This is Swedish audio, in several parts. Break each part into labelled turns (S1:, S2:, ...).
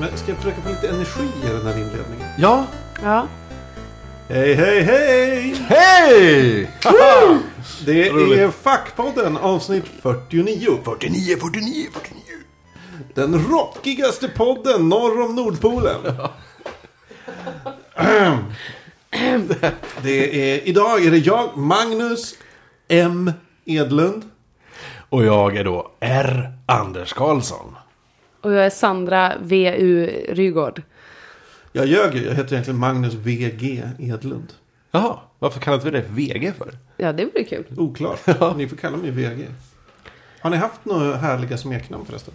S1: Men ska jag försöka få lite energi i den här inledningen?
S2: Ja.
S3: Ja.
S1: Hej, hej, hej!
S2: Hej!
S1: Det är
S2: Roligt.
S1: Fackpodden avsnitt 49.
S2: 49, 49, 49.
S1: Den rockigaste podden norr om Nordpolen. det är, idag är det jag, Magnus M. Edlund.
S2: Och jag är då R. Anders Karlsson.
S3: Och jag är Sandra VU Rygård.
S1: Jag ljög ju, jag heter egentligen Magnus VG Edlund.
S2: Jaha, varför kallar vi det VG för?
S3: Ja, det vore kul.
S1: Oklart, ni får kalla mig VG. Har ni haft några härliga smeknamn förresten?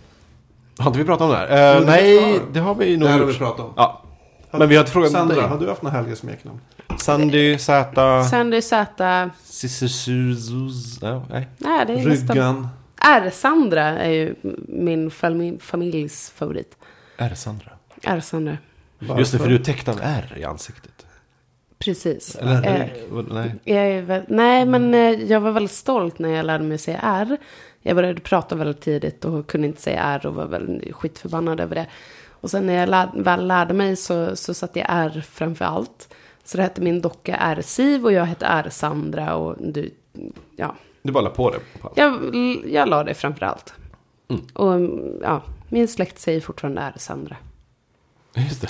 S2: Har inte vi pratat om det här? Eh,
S1: Jo, det
S2: nej,
S1: har vi.
S2: det har vi nog
S1: Det här har vi
S2: gjort.
S1: pratat om.
S2: Ja. Men vi har inte frågat
S1: Sandra,
S2: dig.
S1: har du haft några härliga smeknamn?
S2: Sandy, Z,
S3: Sandy Z.
S2: Sissusuz. Ja, nej.
S3: Nej, det är nästan...
S1: Ryggan.
S3: R-Sandra är ju min famil- familjs favorit.
S2: R. Sandra.
S3: R-Sandra.
S2: Just det, för du är täckt av R i ansiktet.
S3: Precis.
S1: Eller
S3: Eh,
S1: Erik.
S2: Vad- Nej.
S3: jag är väl, nej, men eh, jag var väldigt stolt när jag lärde mig att säga R. Jag började prata väldigt tidigt och kunde inte säga R och var väl skitförbannad över det. Och sen när jag lär, väl lärde mig så, så satte jag R framför allt. Så det hette min docka R-Siv och jag hette R-Sandra och du, ja.
S2: Du bara la på det. på allt.
S3: Jag, jag la det framför allt. Och ja, min släkt säger fortfarande R-Sandra.
S2: Just det.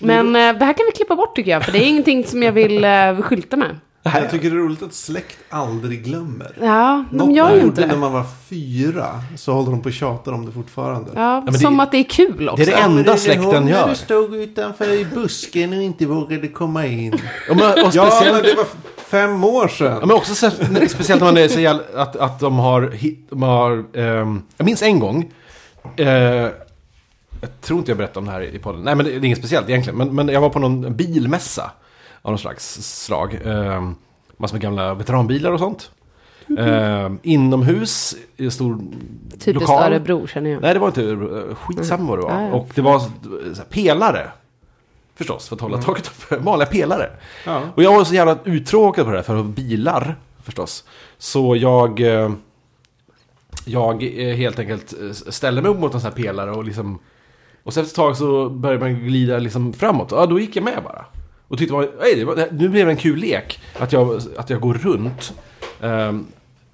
S3: Men eh, det här kan vi klippa bort tycker jag, för det är ingenting som jag vill eh, skylta med.
S1: Jag tycker det är roligt att släkt aldrig glömmer.
S3: Ja,
S1: Något
S3: men jag gör
S1: man
S3: ju
S1: gjorde
S3: inte
S1: när
S3: det.
S1: man var fyra så håller de på och tjatar om det fortfarande.
S3: Ja,
S2: men det-
S3: som att det är kul också.
S2: det är det enda släkten gör.
S1: När du stod utanför i busken och inte vågade komma in.
S2: Och, men, och
S1: ja, men
S2: speciellt...
S1: det var fem år sedan.
S2: Ja, men också så, speciellt när man är så jävla, att, att de har, hit- de har ehm, jag minns en gång, eh, jag tror inte jag berättade om det här i podden, nej men det, det är inget speciellt egentligen, men, men jag var på någon bilmässa av någon slags slag, ehm, massor med gamla veteranbilar och sånt. Ehm, inomhus, i en stor
S3: Typiskt
S2: lokal.
S3: Örebro känner jag.
S2: Nej, det var inte eh, skitsamma vad det var.
S3: Ja, ja.
S2: Och det var så här, pelare. Förstås, för att hålla taket uppe. Vanliga pelare.
S1: Ja.
S2: Och jag var så jävla uttråkad på det här, för det var bilar förstås. Så jag... eh, Jag eh, helt enkelt eh, ställde mig upp mot en sån här pelare och liksom... Och sen efter ett tag så började man glida liksom framåt. Ja, då gick jag med bara. Och tyckte bara, "Ej, det var, nu blev det en kul lek. Att jag, att jag går runt ehm,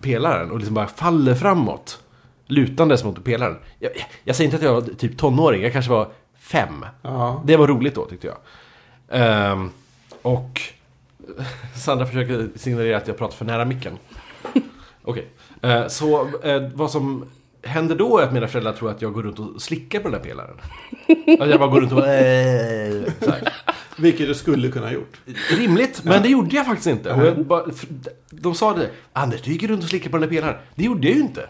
S2: pelaren och liksom bara faller framåt. Lutandes mot pelaren. Jag, jag säger inte att jag var typ tonåring, jag kanske var fem.
S1: Ja.
S2: Det var roligt då tyckte jag. Ehm, och Sandra försöker signalera att jag pratar för nära micken. Okej. Eh, så eh, vad som händer då är att mina föräldrar tror att jag går runt och slickar på den där pelaren. Att jag bara går runt och... eh, så här.
S1: Vilket du skulle kunna ha gjort.
S2: Rimligt, men det gjorde jag faktiskt inte. Och jag bara, för- de sa det. Anders, du gick runt och slickade på den där pelaren. Det gjorde jag ju inte.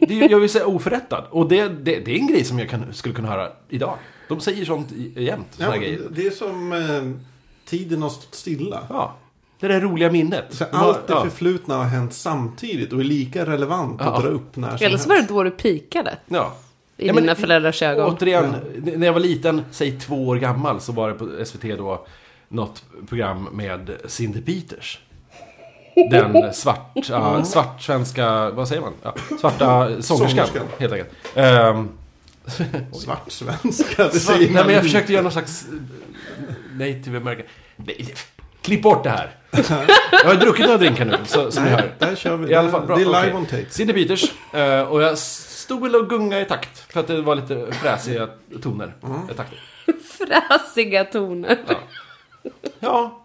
S2: Det, är ju- jag vill säga oförrättad. Och det, det, det är en grej som jag kan, skulle kunna höra idag. De säger sånt i- jämt. Såna
S1: Ja,
S2: här grejer.
S1: det är som eh, tiden har stått stilla.
S2: Ja. Det där roliga minnet.
S1: Så allt det
S2: ja.
S1: förflutna har hänt samtidigt och är lika relevant
S2: Ja.
S1: att dra upp när som
S3: Eller
S1: helst.
S3: så var det då du pikade.
S2: ja.
S3: I
S2: Ja, men-
S3: dina föräldrars ögon.
S2: Återigen, när jag var liten, säg två år gammal, så var det på SVT då något program med Cindy Peters. Den svart, ja, svart svenska, vad säger man? Ja, svarta sångerskan,
S1: Sångerskan.
S2: helt enkelt. Ehm,
S1: Svartsvenska, det
S2: svart,
S1: säger
S2: nej,
S1: man
S2: men jag
S1: inte.
S2: försökte göra någon slags eh, native american. Nej, klipp bort det här! Jag har druckit några drinkar nu, så, som ni
S1: Nej,
S2: hör.
S1: där kör vi.
S2: I alla fall, bra.
S1: det är live
S2: okej.
S1: on tape.
S2: Cindy Peters. eh, Och jag stod väl och gungade i takt. För att det var lite fräsiga toner.
S1: Mm.
S2: i takten.
S3: Fräsiga toner.
S2: Ja. ja.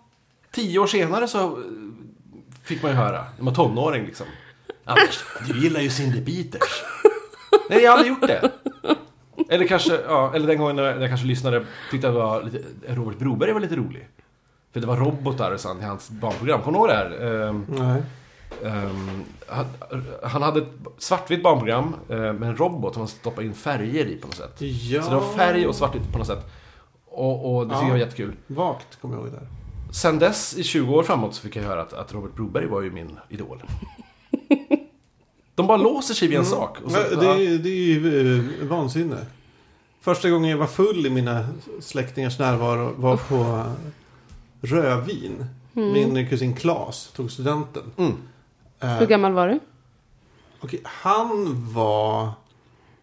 S2: Tio år senare så eh, fick man ju höra. När man var tonåring liksom. Anders, du gillar ju Cindy Peters. Nej, jag har aldrig gjort det. Eller kanske, ja, eller den gången när jag kanske lyssnade tyckte jag det var lite, Robert Broberg var lite rolig. För det var robotar och sånt i hans barnprogram. Kommer ni ihåg det här? Ehm,
S1: Nej.
S2: Ehm, han, han hade ett svartvitt barnprogram eh, med en robot som han stoppade in färger i på något sätt.
S1: Ja.
S2: Så det var färg och svartvitt på något sätt. Och, och det tyckte
S1: Ja.
S2: jag var jättekul.
S1: Vagt kommer jag ihåg där.
S2: Sen dess, i 20 år framåt, så fick jag höra att, att Robert Broberg var ju min idol. De bara låser sig vid en sak. Och så,
S1: Nej, Mm. det, är, det är ju eh, vansinne. Första gången jag var full i mina släktingars närvaro var på eh, rödvin. Min kusin Klas tog studenten.
S2: Mm.
S1: Eh,
S3: Hur gammal var du?
S1: okej, han var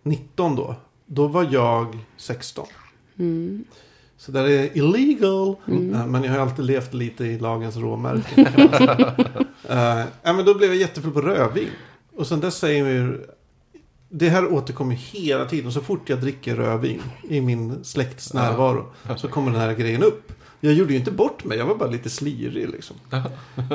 S1: 19 då. Då var jag 16.
S3: Mm.
S1: Så det är illegal.
S2: Mm.
S1: Eh, Men jag har alltid levt lite i lagens råmärken. kan man säga. Eh, ja, men då blev jag jättefull på rödvin. Och sen dess säger jag ju... Det här återkommer hela tiden. Så fort jag dricker rödvin i min släkts närvaro så kommer den här grejen upp. Jag gjorde ju inte bort mig. Jag var bara lite slirig liksom.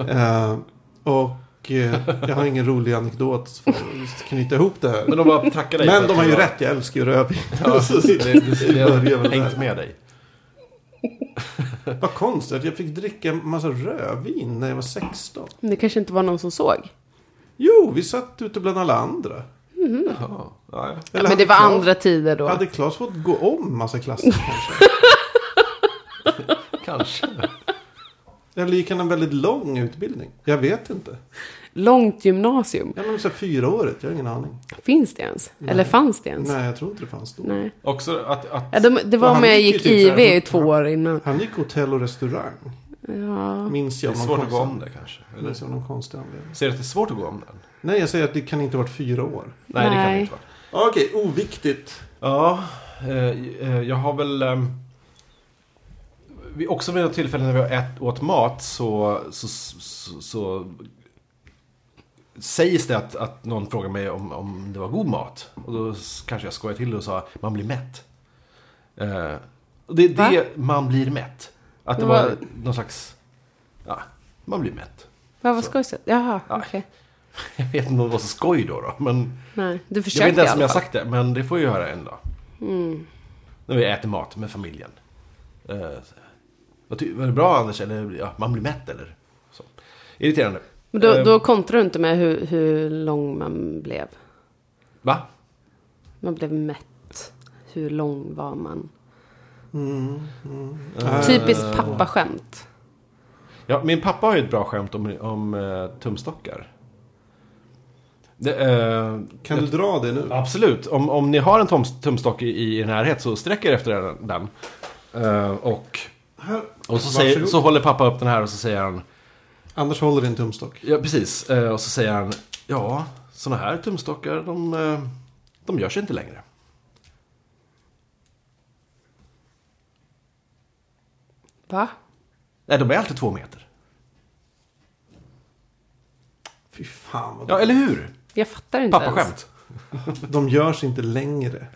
S1: Eh, och eh, jag har ingen rolig anekdot för att knyta ihop det här.
S2: Men de bara tackar dig. för
S1: Men
S2: att
S1: de har
S2: du
S1: ju rätt. Jag älskar ju rödvin.
S2: Ja,
S1: Så
S2: det, det, det
S1: börjar
S2: har
S1: väl
S2: hängt
S1: där.
S2: med dig.
S1: Vad konstigt att jag fick dricka en massa rödvin när jag var 16.
S3: Men det kanske inte var någon som såg.
S1: Jo, vi satt ute bland alla andra. Mm.
S2: Ja, ja.
S3: Ja, men det var andra tider då.
S1: Hade Claes fått gå om massa klasser kanske?
S2: Kanske.
S1: Eller gick han en väldigt lång utbildning? Jag vet inte.
S3: Långt gymnasium.
S1: Jag menar så här fyraåret, jag har ingen aning.
S3: Finns det ens? Eller fanns det ens?
S1: Nej, jag tror inte det fanns då.
S3: Nej.
S2: Också att, att
S3: Ja, de, det
S1: Och
S3: var
S1: han
S3: med jag
S1: gick ju
S3: gick
S1: typ så
S3: IV
S1: här-
S3: i två år innan.
S1: Han gick hotell och restaurang.
S3: Ja.
S1: Minns
S2: det
S1: jag
S2: är
S1: av någon
S2: svårt
S1: konstig-
S2: att gå om det kanske. Eller?
S1: Minns jag av någon konstig anledning.
S2: Ser du att det är svårt att gå om den?
S1: Nej, jag säger att det kan inte ha varit fyra år.
S2: Nej, det kan det
S3: Nej.
S2: inte vara.
S1: Okej, oviktigt.
S2: Ja, eh, eh, jag har väl... Eh, vi- också vid något tillfälle när vi har ätit, åt mat så, så, så, så sägs det att, att någon frågar mig om, om det var god mat. Och då s- kanske jag skojar till det och sa man blir mätt. Eh, och det är
S3: Va?
S2: det man blir mätt. Att det
S3: Det
S2: var
S3: var-
S2: någon slags... Ja, man blir mätt.
S3: Vad var skojset? Jaha,
S2: Ja.
S3: okej.
S2: Jag vet inte om det var så skoj då, då men...
S3: Nej, du
S2: Jag vet
S3: försökte
S2: inte
S3: i
S2: ens om
S3: alla
S2: jag har
S3: fall. Mm.
S2: sagt det, men det får jag göra en dag. När vi äter mat med familjen. Eh, vad ty- var det bra Anders? Eller ja, man blir mätt eller? Så. Irriterande.
S3: Men då,
S2: Eh,
S3: då kontrar du inte med hur, hur lång man blev.
S2: Va?
S3: Man blev mätt. Hur lång var man?
S1: Mm. Eh,
S2: Ehm.
S3: Typiskt pappaskämt.
S2: Ja, min pappa har ju ett bra skämt om, om eh, tumstockar. Det, eh,
S1: Kan du dra det nu?
S2: Absolut. Om, om ni har en tum- tumstock i, i närhet så sträck er efter den. den. Eh, och
S1: Här.
S2: och så, säger,
S1: Varsågod.
S2: så håller pappa upp den här och så säger han
S1: Anders håller i en tumstock.
S2: Ja, precis. Eh, Och så säger han, ja, sådana här tumstockar, de, eh, de görs inte längre.
S3: Va?
S2: Nej, de är alltid två meter.
S1: Fy fan vad
S2: Ja, eller hur?
S3: Jag fattar inte ens.
S2: Pappaskämt.
S1: De görs inte längre.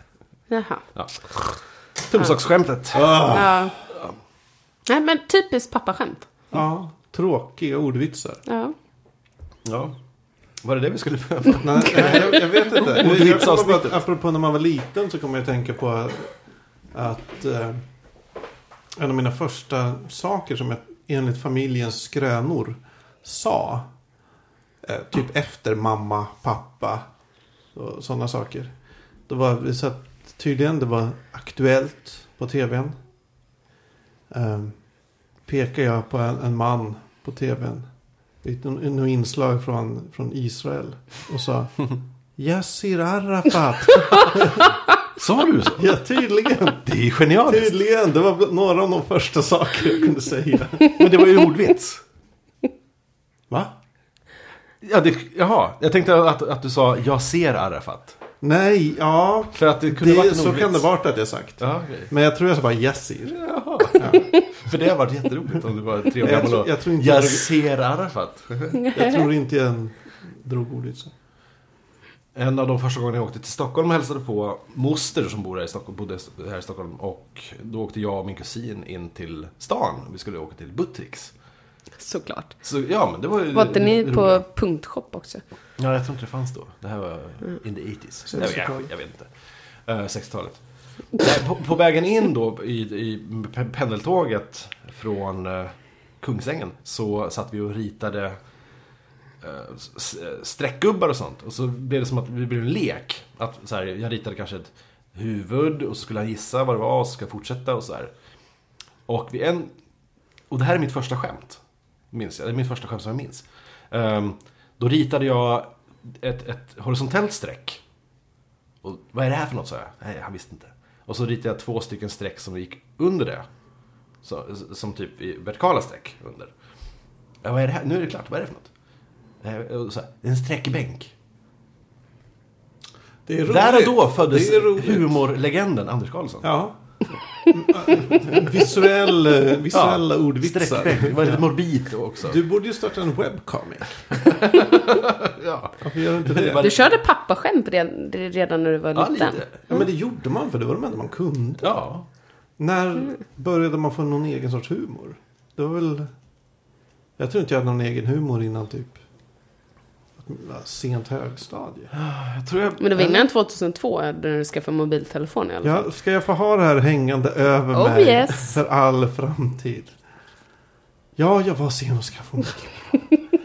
S3: Jaha.
S2: Ja. Tumstocksskämtet.
S3: Ja. Nej, men typiskt pappaskämt.
S1: Ja, tråkiga ordvitsar.
S3: Ja.
S2: Ja. Var det det vi skulle...
S1: Nej, nej, jag, jag vet inte. Jag- Jag kommer bara,
S2: Ordvitsavsnittet.
S1: att- apropå när man var liten så kommer jag att tänka på att, att eh, en av mina första saker som jag enligt familjens skrönor sa. Eh, typ efter mamma, pappa och sådana saker. Då var vi så att tydligen det var aktuellt på tvn. Eh, pekar jag på en, en man på tvn. I ett- i något inslag från, från Israel. Och sa Yassir Arafat.
S2: Sa du så?
S1: Ja, tydligen.
S2: Det är genialiskt.
S1: Tydligen. Det var bland- några av de första saker jag kunde säga.
S2: Men det var ju ordvits.
S1: Va?
S2: Ja, det, jaha. Jag tänkte att, att du sa, jag ser Arafat.
S1: Nej, ja.
S2: För att det kunde varit
S1: Det,
S2: en
S1: så
S2: ordvits.
S1: kan det varit att jag sagt.
S2: Ja, okej.
S1: Men jag tror jag sa bara Yassir.
S2: Jaha. För det har varit jätteroligt om det var tre år
S1: Jag
S2: gammal
S1: tror-
S2: och-
S1: jag tror inte
S2: jag
S1: jag-
S2: ser Arafat.
S1: Jag tror inte jag drog ordet så.
S2: En av de första gångerna jag åkte till Stockholm hälsade på moster som bor här i Stockholm, bodde här i Stockholm. Och då åkte jag och min kusin in till stan. Vi skulle åka till Buttricks.
S3: Såklart.
S2: Så ja, men det var ju
S3: Var inte ni
S2: roligt.
S3: på punktshop också?
S2: Ja, jag tror inte det fanns då. Det här var in the 80s. Jag, jag,
S1: 60-talet.
S2: jag vet inte. Eh, 60-talet. Nej, på, på vägen in då i, i pe- pendeltåget från eh, Kungsängen så satt vi och ritade eh, s- s- eh, streckgubbar och sånt. Och så blev det som att vi blev en lek. Att, så här, jag ritade kanske ett huvud och så skulle han gissa vad det var och så ska jag fortsätta och så här. Och vid en... Och det här är mitt första skämt. Minns jag. Det är mitt första skämt som jag minns. Ehm, då ritade jag ett, ett horisontellt streck. Och vad är det här för något, sa jag. Nej, han visste inte. Och så ritade jag två stycken streck som gick under det. Så, som typ i vertikala streck under. Ja, vad är det här? Nu är det klart. Vad är det för något? Eh, och Så här, en sträckbänk.
S1: Det är roligt.
S2: Där och då föddes
S1: Det är roligt.
S2: humorlegenden Anders Karlsson.
S1: Ja. Mm, Visuell, eh, visuella ordvitsar.
S2: Sträckvägg. Det var lite morbid också.
S1: Du borde ju starta en webcomic.
S2: ja.
S1: Varför gör du inte det?
S3: Du körde pappaskämt redan, redan när du var
S2: ja,
S3: liten.
S2: lite.
S1: Ja, men det gjorde man för det var de enda man kunde.
S2: Ja.
S1: När började man få någon egen sorts humor? Det var väl... Jag tror inte jag hade någon egen humor innan typ sent högstadie.
S2: Jag tror jag...
S3: Men det var innan 2002 när du skaffade mobiltelefon i alla fall.
S1: Ja, ska jag få ha det här hängande över
S3: Oh,
S1: mig
S3: yes.
S1: för all framtid? Ja, jag var sen och skaffade mobil.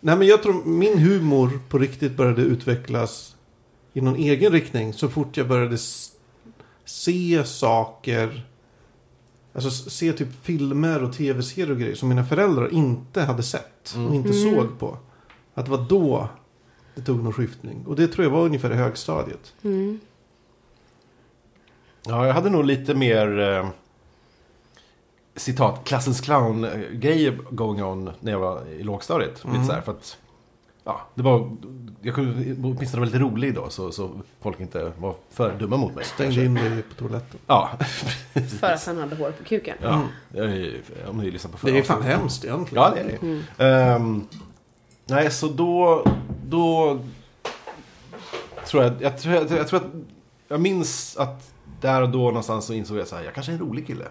S1: Nej, men jag tror min humor på riktigt började utvecklas i någon egen riktning så fort jag började s- se saker. Alltså s- se typ filmer och tv-serier och grejer som mina föräldrar inte hade sett
S3: Mm.
S1: och inte såg på. Att det var då det tog någon skiftning. Och det tror jag var ungefär i högstadiet.
S3: Mm.
S2: Ja, jag hade nog lite mer eh, citat klassens clown-grejer going on när jag var i lågstadiet.
S3: Mm.
S2: Lite så här, för att, ja, det var, jag kunde åtminstone vara lite rolig då så, så folk inte var för dumma mot mig.
S1: Stängde
S2: kanske.
S1: in dig på toaletten.
S2: Ja,
S3: För att han hade hår på kuken.
S2: ja jag är ju- om ni lyssnar på
S1: Mm. Det är
S2: förra
S1: fan
S2: avsnittet.
S1: hemskt egentligen.
S2: Ja, det är det.
S3: Mm.
S2: Ehm, nej, så då... Då tror jag, jag, tror, jag, jag tror att... Jag minns att där och då någonstans så insåg jag så här, jag kanske är en rolig kille.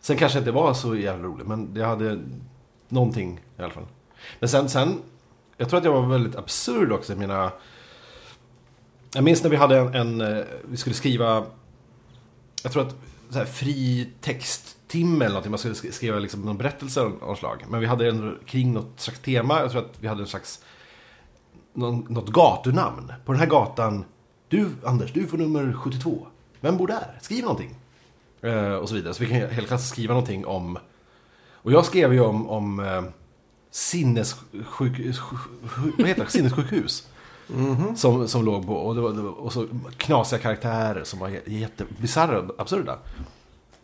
S2: Sen kanske jag inte var så jävla rolig, men jag hade någonting i alla fall. Men sen, sen jag tror att jag var väldigt absurd också i mina... Jag minns när vi hade en, en eh, vi skulle skriva, jag tror att så här, fri texttimme eller någonting, man skulle sk- skriva liksom någon berättelse av något slag. Men vi hade en kring något slags tema, jag tror att vi hade en slags, någon, något gatunamn. På den här gatan, du Anders, du får nummer 72. Vem bor där? Skriv någonting. Eh, och så vidare, så vi kan hela klassen skriva någonting om och jag skrev ju om, om eh, sinnessjuk, sjuk- vad heter det? sinnessjukhus. Som, som låg på, och, det var, det var, och så knasiga karaktärer som var jä- jättebisarra och absurda.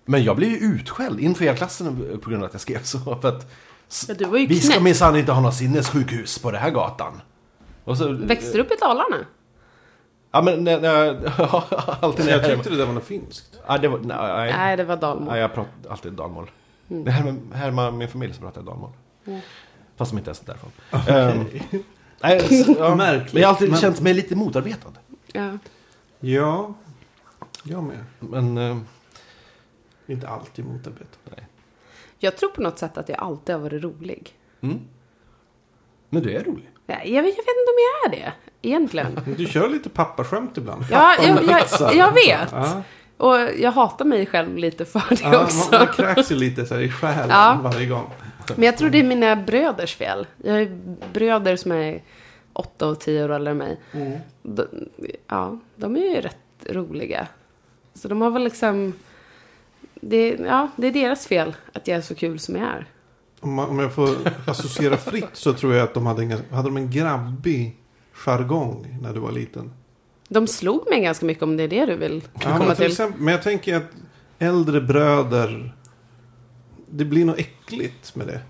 S2: Men jag blev ju utskälld inför hela klassen på grund av att jag skrev så. För att, s-
S3: Ja, du var ju
S2: vi ska
S3: knäpp.
S2: minsann inte ha något sinnessjukhus på den här gatan. Och så,
S3: Växte du upp i Dalarna?
S2: Ja men nej, nej, alltid när
S1: Jag
S2: jag
S1: tyckte det där var något finskt.
S2: ja, det var, nej,
S3: Nej, Mm. det var Dalmål.
S2: Nej, jag pratar alltid dalmål. Det här med, här med min familj så pratar jag dalmål.
S3: Mm.
S2: Fast de inte ens är därifrån. Ehm, nej, s- ja.
S1: Märkligt,
S2: Men jag har alltid
S1: men-
S2: känt mig lite motarbetad.
S3: Ja.
S1: Ja, jag med.
S2: Men eh,
S1: Inte alltid motarbetad.
S3: Jag tror på något sätt att jag alltid har varit rolig.
S2: men du är rolig.
S3: Ja, Jag vet, jag vet inte om jag är det, egentligen.
S1: Du kör lite pappaskämt ibland.
S3: Ja,
S1: Pappa
S3: jag,
S1: med pizza.
S3: jag, jag vet.
S1: Ja,
S3: Och jag hatar mig själv lite för det
S1: ja,
S3: också.
S1: man, man kräks ju lite så här i själen
S3: Ja.
S1: varje gång.
S3: Men jag tror det är mina bröders fel. Jag har ju bröder som är åtta och tio år äldre än mig. De, ja, de är ju rätt roliga. Så de har väl liksom... Det, ja, det är deras fel att jag är så kul som jag är.
S1: Om, man, om jag får associera fritt så tror jag att de hade en, ganska- hade de en grabbig jargong när du var liten.
S3: De slog mig ganska mycket om det är det du vill
S1: Ja,
S3: komma
S1: men, typ till
S3: till.
S1: exempel, men jag tänker att äldre bröder, det blir nog äckligt med det.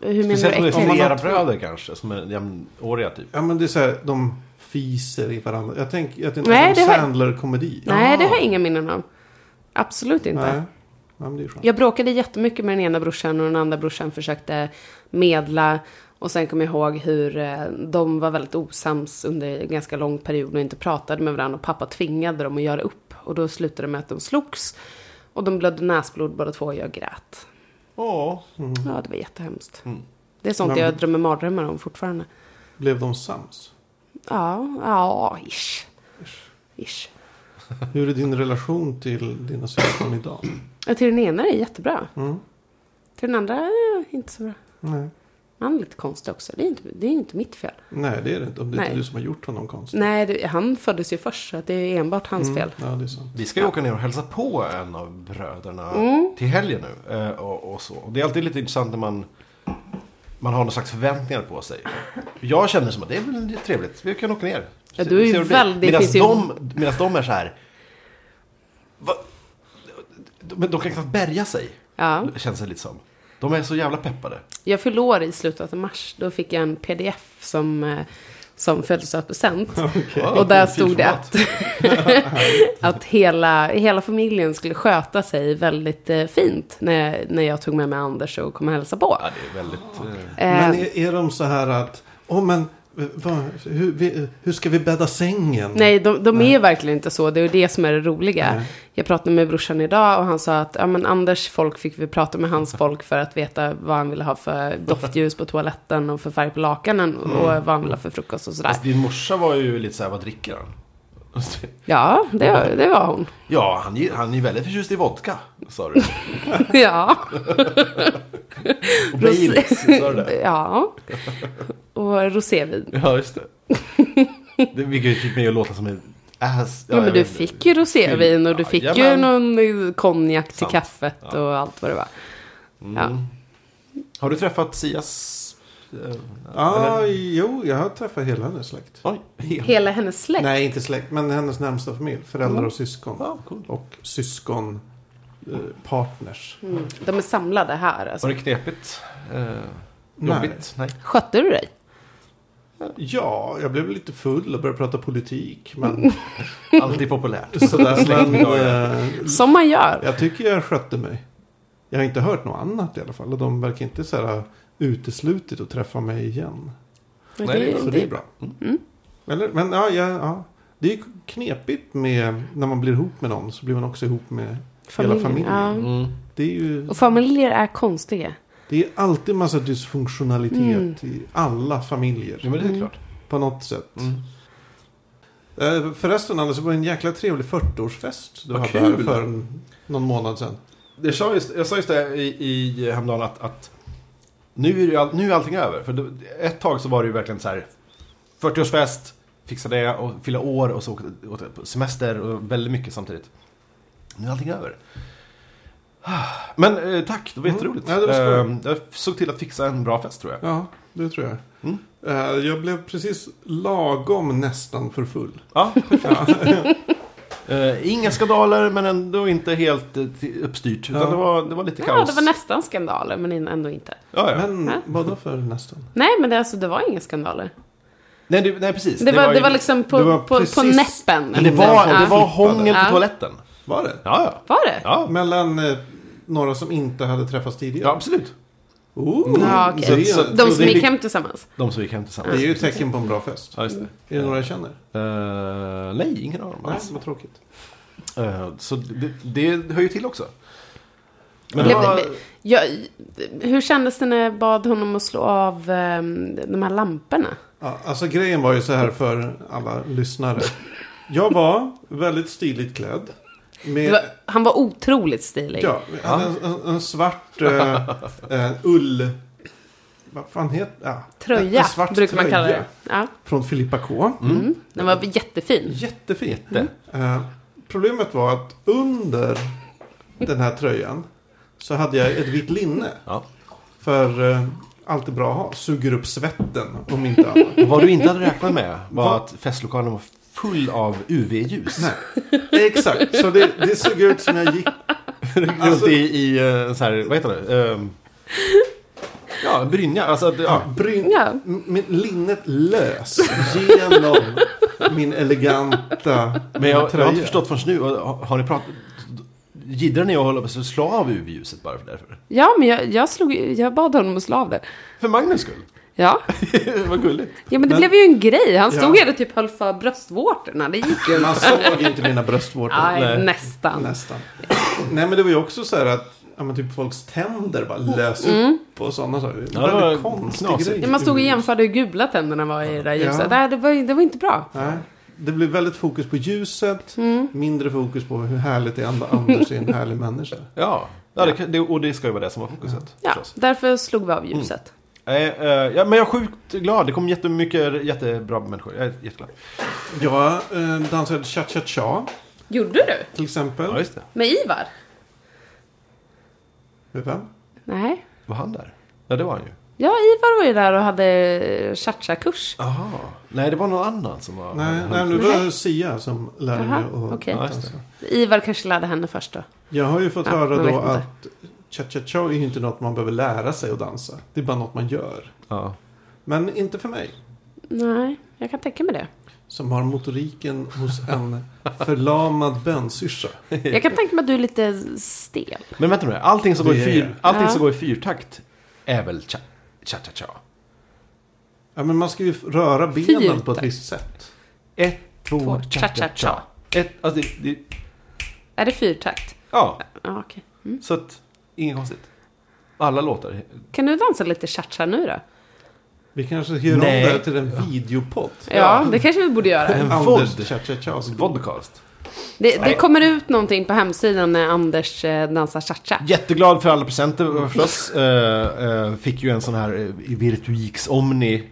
S3: Hur menar
S2: Speciellt om det
S3: du? äckligt?
S2: är
S1: Om man
S2: flera
S1: har två-
S2: bröder kanske, som är jämnåriga typ.
S1: Ja men det är så här, de fiser i varandra. Jag tänker att det är en
S3: Nej,
S1: Adam
S3: det har-
S1: Sandler-komedi.
S3: Nej, det har jag inga minnen om. Absolut inte.
S1: Nej. Nej, men det är skönt.
S3: Jag bråkade jättemycket med den ena brorsan och den andra brorsan försökte medla. Och sen kom jag ihåg hur eh, de var väldigt osams under en ganska lång period och inte pratade med varandra. Och pappa tvingade dem att göra upp. Och då slutade det med att de slogs. Och de blödde näsblod båda två och jag grät.
S2: Ja.
S1: Mm.
S3: Ja, det var jättehemskt.
S2: Mm.
S3: Det är sånt jag drömmer mardrömmar om fortfarande.
S1: Blev de sams?
S3: Ja, ja, ish. Ish.
S1: Hur är din relation till dina syskon idag?
S3: Ja, till den ena är det jättebra.
S1: Mm.
S3: Till den andra är det inte så bra.
S1: Nej.
S3: Han är lite konstig också. Det är inte, det är inte mitt fel.
S1: Nej, det är det inte. Om det är inte
S3: Nej.
S1: du som har gjort honom konstig. Mm.
S3: Nej, det, han föddes ju först så att det är enbart hans fel.
S1: Ja, det är sant.
S2: Vi ska ju åka ner och hälsa på en av bröderna
S3: Mm.
S2: till helgen nu. eh, Och, och så. Och det är alltid lite intressant när man, man har någon slags förväntningar på sig. Jag känner som att det är väl trevligt, vi kan åka ner.
S3: Ja, du är ju
S2: Se hur det blir.
S3: väldigt-
S2: Medan
S3: finns ju-
S2: de, medans de är så här... Va? Men de kan knappt bärga sig,
S3: Ja.
S2: känns det lite som. De är så jävla peppade.
S3: Jag fyllde år i slutet av mars. Då fick jag en pdf som eh, som födelsedagspresent. Och där stod det att, att hela, hela familjen skulle sköta sig väldigt eh, fint när, när jag tog med mig Anders och kom och hälsade på.
S2: Ja, det är väldigt... eh,
S1: Men
S3: Eh,
S1: är, är de så här att, åh men, eh, vad, hur, vi, hur ska vi bädda sängen?
S2: Mm.
S3: Nej, de, de är verkligen inte så. Det är det som är det roliga.
S1: Nej.
S3: Jag pratade med brorsan idag och han sa att ja, men Anders folk fick vi prata med hans folk för att veta vad han ville ha för doftljus på toaletten och för färg på lakanen och vad han ville ha för frukost och sådär.
S2: Mm. Fast din morsa var ju lite såhär, vad dricker han?
S3: Ja, det, det var hon.
S2: Ja, han, är- han är väldigt förtjust i vodka, sa du.
S3: Ja.
S2: Och Baileys, sa du det?
S3: ja. Och rosévin.
S2: Ja, just det. det. Vilket fick mig att låta som en ass.
S3: Ja, men
S2: jag
S3: du
S2: vet inte.
S3: fick ju rosévin och du
S2: Ja,
S3: fick ju
S2: jajamän.
S3: någon eh, konjak till
S2: Sant.
S3: kaffet och allt vad det var. Ja.
S2: Mm. Har du träffat Sias... eh,
S1: Ja,
S2: eller-
S1: jo, jag har träffat hela hennes släkt.
S2: Oj, helt.
S3: Hela hennes släkt.
S1: Nej, inte släkt, men hennes närmsta familj. Föräldrar
S3: Mm.
S1: och syskon.
S2: Ja, Ah, cool.
S1: Och syskon, eh, partners.
S3: Mm. De är samlade här. Alltså.
S2: Var det knepigt? Eh,
S1: Nej.
S2: jobbigt? Nej.
S3: Skötte du dig?
S1: Ja, jag blev lite full och började prata politik.
S2: Mm.
S1: Men
S2: Alltid populärt.
S1: sådär, men
S2: Släktmiddagar.
S1: eh,
S3: Som man gör.
S1: jag tycker jag skötte mig. Jag har inte hört något annat i alla fall. Och de verkar inte så här ha uteslutit att träffa mig igen.
S3: Ja,
S2: Nej, det är Mm.
S1: Så det är bra. Eller, men ja, ja, ja, det är ju knepigt med när man blir ihop med någon så blir man också ihop med hela familjen.
S3: Ja.
S2: Mm.
S1: Det är ju
S3: Och familjer är konstiga.
S1: det är alltid massa dysfunktionalitet i alla familjer.
S2: Ja, men det är klart.
S1: På något sätt.
S2: Mm.
S1: Eh, Förresten Anders, det var en jäkla trevlig 40-årsfest du
S2: Vad
S1: hade
S2: kul.
S1: här för en, någon månad sedan.
S2: Jag sa just, jag sa just det i, i häromdagen att, att nu, är det, ju all- nu är allting över. För det, ett tag så var det ju verkligen så här 40-årsfest, fixa det och fylla år och så åkte- åkte på semester och väldigt mycket samtidigt. Nu är allting över. Men eh, tack, det var
S1: Mm.
S2: jätteroligt.
S1: Ja, det var skoj.
S2: Eh, jag såg till att fixa en bra fest tror jag.
S1: Ja, det tror jag.
S2: Mm.
S1: Eh, Jag blev precis lagom nästan för full.
S2: Ja, eh, inga skandaler men ändå inte helt eh, till- uppstyrt. Utan
S1: Ja.
S2: det, var, det var lite
S3: Ja,
S2: kaos.
S3: det var nästan skandaler, men in- ändå inte.
S2: ja, ja.
S1: Men
S3: Ja.
S1: vadå för nästan?
S3: Nej, men det, alltså, det var inga skandaler.
S2: nej, det, nej, precis.
S3: Det, var, det var liksom på,
S1: det var
S3: på, på
S1: precis-
S3: näppen.
S2: Men det var,
S3: ja.
S2: det var hångel
S3: Ja.
S2: på toaletten.
S1: Var det?
S2: Ja, ja.
S3: Var det?
S2: Ja,
S1: Mellan eh, några som inte hade träffats tidigare?
S2: ja absolut.
S1: Oh,
S3: Ja, okej.
S1: så det är-
S2: Mm. Så-
S1: så
S3: De
S1: det
S3: som
S1: är
S3: gick
S1: li-
S3: hem tillsammans.
S2: De som gick hem
S1: Det
S2: tillsammans.
S1: är ju ett tecken på en bra fest.
S2: Ja, just det.
S1: Är det några jag känner?
S2: Eh, nej, ingen aning
S1: Nej,
S2: alls.
S1: vad tråkigt.
S2: Eh, så det, det hör ju till också. Men
S3: Men
S2: det var,
S3: Jag, hur kändes det när jag bad honom att slå av ehm, de här lamporna?
S1: Ja, alltså grejen var ju så här för alla lyssnare. Jag var väldigt stiligt klädd.
S3: Det
S1: Med,
S3: var, han var otroligt stilig.
S1: ja, jag hade en, en, en svart eh, eh, ull... Vad fan heter ja,
S3: Tröja
S1: en svart
S3: brukar man kalla
S1: tröja
S3: det. Ja.
S1: Från Filippa K.
S3: Mm. Den var jättefin.
S1: Jättefin. Eh, problemet var att under den här tröjan så hade jag ett vitt linne.
S2: ja.
S1: För eh, allt är bra att ha. Suger upp svetten om inte annat.
S2: vad du inte hade räknat med var
S1: Va?
S2: att festlokalen var full av UV-ljus.
S1: Nej, exakt. Så det, det såg ut som jag gick.
S3: alltså-
S2: Runt i, i eh, så här, vad heter det? Ehm, ja, brynja. Alltså, det- ja.
S1: Ja, bryn,
S3: Ja.
S1: m- min, linnet lös genom min eleganta
S2: Men jag, jag har inte
S1: tröja.
S2: förstått förrän nu. Har, har ni pratat... Jiddrar ni och håller på att slå av UV-ljuset bara för därför?
S3: Ja, men jag, jag, slog, jag bad honom att slå av det.
S2: För Magnus skull.
S3: Ja,
S2: Vad gulligt.
S3: ja men det
S1: Men-
S3: blev ju en grej. Han stod
S1: Ja.
S3: här och typ höll för bröstvårtorna. Det gick ju
S1: Man
S3: inte.
S1: såg inte mina bröstvårtor.
S3: Aj,
S2: nej.
S3: nästan.
S1: Nästan. Nej men det var ju också så här att ja, men typ folks tänder bara lös upp och sådana saker.
S2: Ja, det var
S1: Väldigt konstig
S2: knasigt.
S1: grej.
S3: Mm. Ja, man stod och jämförde hur gula tänderna var i det där ljuset.
S1: Ja.
S3: Nej, det, var, ju- det var inte bra.
S1: Nej. Det blev väldigt fokus på ljuset,
S3: Mm.
S1: mindre fokus på hur härligt det är att Anders är en härlig människa.
S2: Ja, ja det, kan- det, och det ska ju vara det som var fokuset.
S3: Ja,
S2: förstås.
S3: därför slog vi av
S1: Mm.
S3: ljuset.
S2: Eh, eh, ja, men jag är sjukt glad. Det kom jättemycket jättebra människor. Jag är jätteglad.
S1: Jag eh, dansade cha-cha-cha
S3: Gjorde du?
S1: till exempel.
S2: Ja, just det.
S3: Med Ivar?
S1: Med vem?
S3: Nej.
S2: Var han där? Ja, det var han ju.
S3: Ja, Ivar var ju där och hade cha-cha-kurs.
S2: Aha. Nej, det var någon annan som var...
S1: Nej,
S2: han-
S1: nej, nu var det Sia som lärde mig
S3: Jaha,
S1: att
S3: okej.
S2: Ja, just
S1: dansa.
S2: det.
S3: Ivar kanske lärde henne först då.
S1: Jag har ju fått
S3: Ja,
S1: höra
S3: man vet
S1: då
S3: inte.
S1: att cha-cha-cha är ju inte något man behöver lära sig att dansa. Det är bara något man gör.
S2: Ja.
S1: Men inte för mig.
S3: Nej, jag kan tänka mig det.
S1: Som har motoriken hos en förlamad bönsyrsa.
S3: Jag kan tänka mig att du är lite stel.
S4: Men vänta nu, allting som, går, i
S1: Det är
S4: fyr,
S1: jag.
S4: allting
S3: Ja.
S4: som går i fyrtakt är väl cha- cha-cha-cha?
S1: Ja, men man ska ju röra benen på
S3: Fyrtakt.
S1: ett visst sätt.
S4: Ett, två,
S3: Två,
S4: cha-cha-cha.
S3: cha-cha-cha.
S4: Ett, alltså det, det,
S3: Är det fyrtakt?
S4: ja,
S3: Ja, okej.
S4: så att inget konstigt. Alla låtar.
S3: Kan du dansa lite cha-cha nu då?
S1: Vi kanske hyr om det
S4: Nej.
S1: här till en videopodd.
S3: Ja, det kanske vi borde göra.
S4: En
S1: Anders
S4: vod.
S1: cha-cha-cha.
S4: Vodcast.
S3: Det, det kommer ut någonting på hemsidan när Anders eh, dansar cha-cha.
S2: Jätteglad för alla
S4: Mm.
S2: presenter förstås. Eh, eh, fick ju en sån här eh, Virtuix Omni.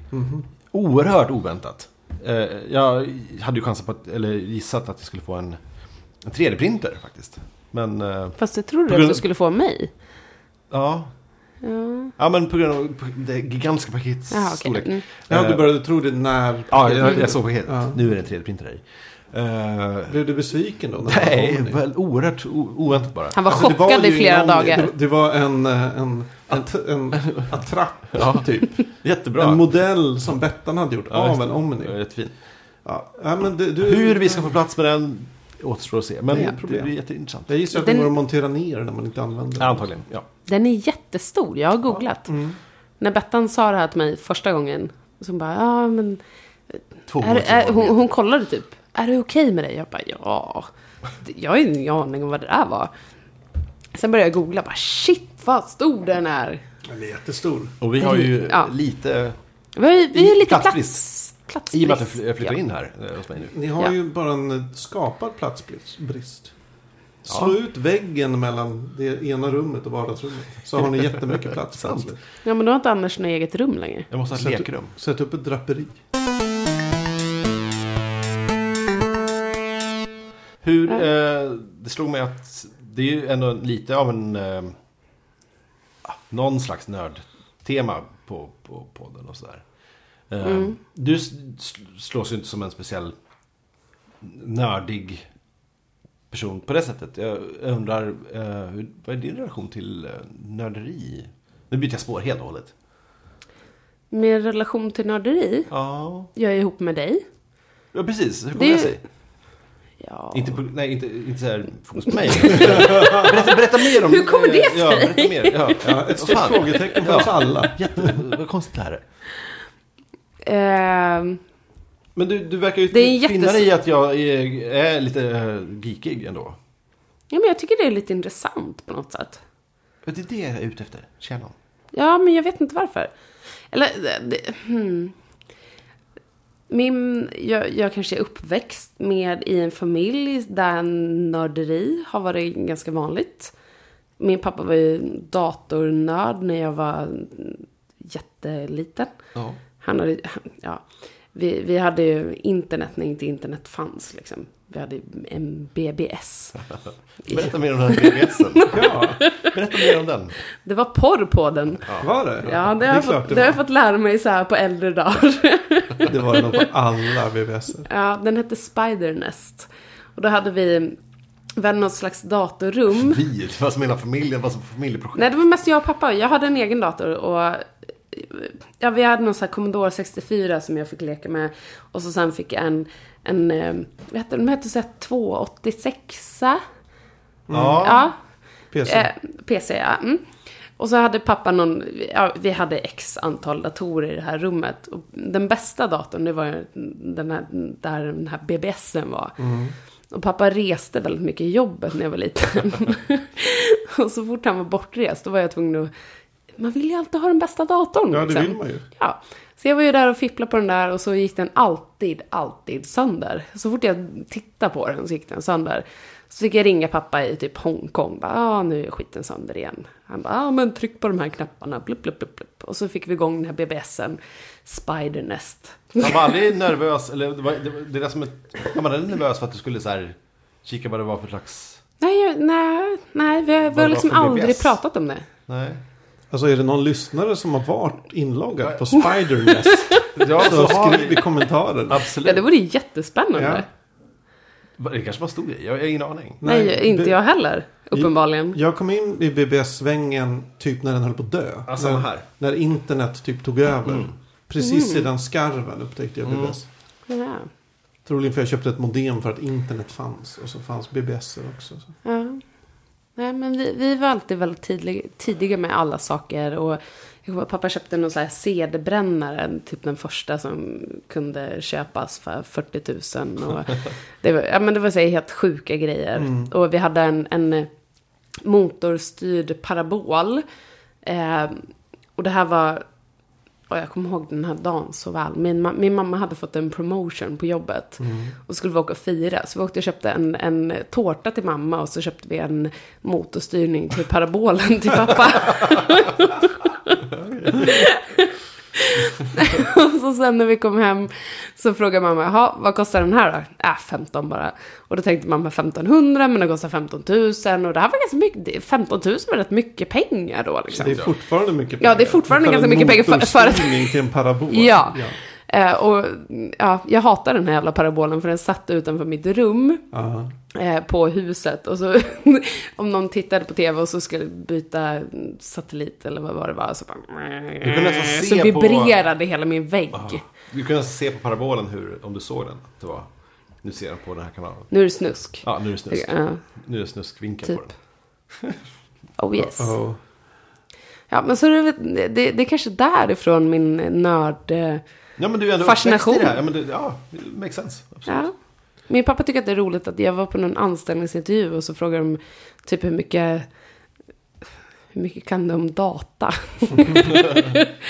S2: Oerhört oväntat. Eh, jag hade ju chansen på att, eller gissat att jag skulle få en, en 3D-printer faktiskt. Men eh,
S3: Fast jag trodde
S2: På
S3: att
S2: grund-
S3: du skulle få mig.
S2: ja.
S3: Ja,
S2: ja, men på grund av det gigantiska paketets
S3: Jaha, okej.
S2: storlek.
S3: Mm.
S1: Ja, du började tro det när...
S2: Ja, jag, jag såg paketet.
S1: Ja.
S2: Nu är det en 3D-printer här i. Eh,
S1: Blev du besviken då? När det
S2: Nej,
S1: kom nu?
S2: väl oerhört o- oväntat bara.
S3: Han var
S1: Alltså, det
S3: chockad
S1: ju
S3: i flera
S1: någon-
S3: dagar.
S1: Det, det var en, eh, en, att, en attrapp, typ.
S2: Jättebra.
S1: En modell som Bettan hade gjort
S2: Ja, just
S1: av en
S2: det. Ja,
S1: Omni.
S2: Jättefin.
S1: Ja, ja, men det, du,
S2: Hur vi ska få plats med den återstår att se. Men
S1: Det är inga
S2: det
S1: problem.
S2: blir jätteintressant.
S1: Jag gissar att
S3: Den-
S1: det går att montera ner när man inte använder den.
S2: Antagligen, ja.
S3: Den är jättestor, jag har googlat.
S2: Mm.
S3: När Bettan sa det här till mig första gången, så hon bara, ja men... Är,
S2: 200
S3: är, hon, hon kollade typ, är det okej med dig? Jag bara, ja. Jag har ju ingen aning om vad det där var. Sen började jag googla, bara shit vad stor den är.
S1: Den är jättestor.
S2: Och vi har ju
S3: Ja.
S2: lite,
S3: Vi har ju, vi har ju lite plats,
S2: Platsbrist. i och med att jag
S3: platsbrist.
S2: fly- jag flyttar
S3: Ja.
S2: in här eh, hos mig nu.
S1: Ni har
S3: Ja.
S1: ju bara en eh, skapad platsbrist. Slå ut väggen mellan det ena rummet och vardagsrummet. Så har ni jättemycket plats. plötsligt.
S3: Ja men då har inte Anders något eget rum längre.
S2: Jag måste ha ett
S1: Sätt-
S2: lekrum.
S1: Sätt upp ett draperi.
S2: Hur, eh, det slog mig att det är ju ändå lite av en... Eh, ah, någon slags nördtema på, på podden och sådär. Eh, Du s- sl- slås ju inte som en speciell nördig person på det sättet. Jag undrar, eh, hur, vad är din relation till eh, nörderi? Nu byter jag spår helt och hållet.
S3: Med relation till nörderi,
S2: Ja,
S3: jag är ihop med dig.
S2: ja precis. Hur kom
S3: Det
S2: det,
S3: är ju-
S2: sig?
S3: Ja.
S2: Inte, på, nej, inte, inte så här fokus på mig. berätta, berätta mer om...
S3: Hur kommer det
S2: eh,
S3: sig?
S2: Ja, berätta mer. Ja,
S1: Ja, ett stort frågetecken för oss alla.
S2: Jätte, vad konstigt det här är.
S3: Ehm,
S2: Men du, du verkar ju
S3: Det är en
S2: finna
S3: jättes-
S2: dig i att jag är, är lite eh, geekig ändå.
S3: ja men jag tycker det är lite intressant på något sätt.
S2: Det är det jag är ute efter. Känna.
S3: Ja, men jag vet inte varför. Eller, det, det, hmm. Min, jag, jag kanske är uppväxt med i en familj där nörderi har varit ganska vanligt. Min pappa var ju datornörd när jag var jätteliten.
S2: Ja.
S3: Han hade, ja, vi, vi hade ju internet när inte internet fanns. Liksom. Vi hade en BBS.
S2: Berätta mer om den här BBSen.
S1: Ja,
S2: Berätta mer om den.
S3: Det var porr på den.
S1: var det?
S3: Ja, det har,
S1: är
S3: jag
S1: klart
S3: fått,
S1: det,
S3: det har jag
S1: var.
S3: fått lära mig så här på äldre dagar.
S1: Det var nog på alla VVS.
S3: Ja, den hette Spidernest. Och då hade vi, vi hade något slags datorrum.
S2: Vi, det var som hela familjen, det var som familjeprojekt.
S3: Nej, det var mest jag och pappa. Jag hade en egen dator och ja, vi hade någon sån här Commodore 64 som jag fick leka med. Och så sen fick jag en, en eh, vad hette de? De hette såhär 286
S2: Mm. Ja.
S3: Ja,
S1: PC.
S3: eh, PC ja. Mm. Och så hade pappa någon, ja, vi hade x antal datorer i det här rummet. Och den bästa datorn, det var ju den här, där den här BBSen var. Och pappa reste väldigt mycket i jobbet när jag var liten. och så fort han var bortrest, då var jag tvungen att... Man vill ju alltid ha den bästa datorn.
S1: Ja, det
S3: liksom.
S1: vill man ju.
S3: Ja. Så jag var ju där och fipplade på den där och så gick den alltid, alltid sönder. Så fort jag tittade på den så gick den sönder. Så fick jag ringa pappa i typ Hongkong. Bara, ah, nu är skiten sönder igen. Han bara, ah, men tryck på de här knapparna. Blup, blup, blup, blup. Och så fick vi igång den här BBSen. Spidernest.
S2: Han var aldrig nervös, eller det, var, det, var- det är som ett... Han var aldrig nervös för att du skulle så här, kika vad det var för slags...
S3: Nej, jag- nej, nej vi har, vi
S2: Vad
S3: har
S2: var
S3: liksom
S2: för BBS?
S3: aldrig pratat om det.
S2: Nej.
S1: Alltså är det någon lyssnare som har varit inloggad på Spidernest?
S2: Ja,
S1: Så
S2: så har
S1: skriv i
S2: vi...
S1: kommentaren.
S3: Ja,
S2: Absolut.
S3: det vore ju jättespännande.
S1: Ja.
S2: Va, Det kanske var en stor grej, jag jag har ingen aning.
S3: Nej,
S1: Nej,
S3: inte
S1: det-
S3: jag heller. Uppenbarligen.
S1: Jag kom in i BBS-svängen typ när den höll på att dö.
S2: Ja, samma
S1: när,
S2: här.
S1: när internet typ tog över. Precis
S3: Mm.
S1: sedan skarven upptäckte jag
S2: Mm.
S1: BBS.
S3: Ja.
S1: Troligen för jag köpte ett modem för att internet fanns. Och så fanns BBS också. Så.
S3: Ja. Nej, men vi, vi var alltid väldigt tidlig, tidiga med alla saker. Och jag kommer ihåg att pappa köpte någon så här CD-brännare, typ den första som kunde köpas för 40 000. Och det, var, ja, men det var så här helt sjuka grejer. Och vi hade en, en motorstyrd parabol. Eh, och det här var och jag kommer ihåg den här dagen så väl. Min, ma- min mamma hade fått en promotion på jobbet. Och skulle vi åka och fira. Så vi åkte och köpte en, en tårta till mamma. Och så köpte vi en motorstyrning till parabolen till pappa. och så sen när vi kom hem så frågade mamma, Jaha, vad kostar den här då? Äh, 15 bara. Och då tänkte mamma 1500 men den kostar 15 000 och det här var ganska mycket, 15 000 var rätt mycket pengar då liksom.
S1: Det är fortfarande mycket pengar.
S3: Ja, det är fortfarande
S1: För
S3: ganska
S1: en
S3: mycket pengar för- för-
S1: motorstyrning till en parabol.
S3: Ja. Eh, och ja, jag hatar den här jävla parabolen för den satt utanför mitt rum
S1: Ja.
S3: eh, på huset. Och så om någon tittade på tv och så skulle byta satellit eller vad var det var. Så,
S2: Du kunde nästan
S3: bara, eh,
S2: se
S3: så
S2: på-
S3: vibrerade hela min vägg.
S2: Ah, Du kunde se på parabolen hur, om du såg den, att det var, nu ser den på den här kanalen.
S3: Nu är det snusk.
S2: Ja, nu är det snusk.
S3: Ja,
S2: Nu är det snuskvinkel
S3: Typ.
S2: på den.
S3: oh yes.
S1: Och
S3: Ja, men så är det, det, det är kanske därifrån min nörd... eh,
S2: Ja, men du är ändå
S3: Fascination.
S2: uppväxt i det här. Ja, men det, ja, det makes sense. Absolut.
S3: Ja. Min pappa tycker att det är roligt att jag var på någon anställningsintervju och så frågar de typ hur mycket, hur mycket kan du om data?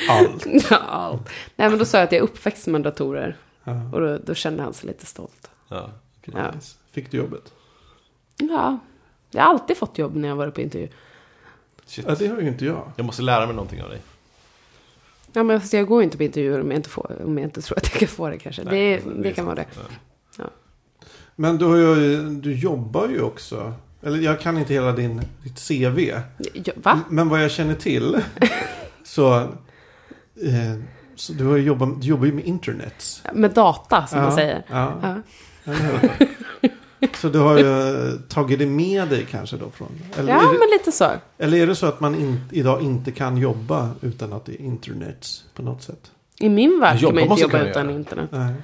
S1: allt.
S3: Ja, Allt. Nej men då sa jag att jag är uppväxt med datorer.
S1: Ja.
S3: Och då, då kände han sig lite stolt.
S2: Ja.
S3: Ja.
S1: Nice. Fick du jobbet?
S3: ja. Jag har alltid fått jobb när jag varit på intervju.
S2: Shit.
S1: Ja, det har ju inte jag.
S2: Jag måste lära mig någonting av dig.
S3: Ja men fast jag går ju inte på intervjuer om jag inte, får, om jag inte tror att jag kan få det kanske.
S2: Nej,
S3: det,
S2: alltså,
S3: det, kan
S2: sant.
S3: vara det.
S2: Ja.
S1: Men du, har ju, du jobbar ju också. Eller jag kan inte hela din, ditt CV.
S3: Ja, va?
S1: Men vad jag känner till. så, eh, så du, har ju jobbat, du jobbar ju med internet.
S3: Med data som
S1: Ja,
S3: man säger.
S1: Ja.
S3: Ja.
S1: eller hur? Så du har ju eh, tagit det med dig kanske då från. Eller,
S3: Ja
S1: är, det,
S3: men lite så.
S1: eller är det så att man in, idag inte kan jobba utan att det är internet på något sätt?
S3: I min värld kan
S2: Jobba
S3: man ju inte
S2: måste
S3: jobba
S2: kunna
S3: utan
S2: göra.
S3: internet.
S1: Nej.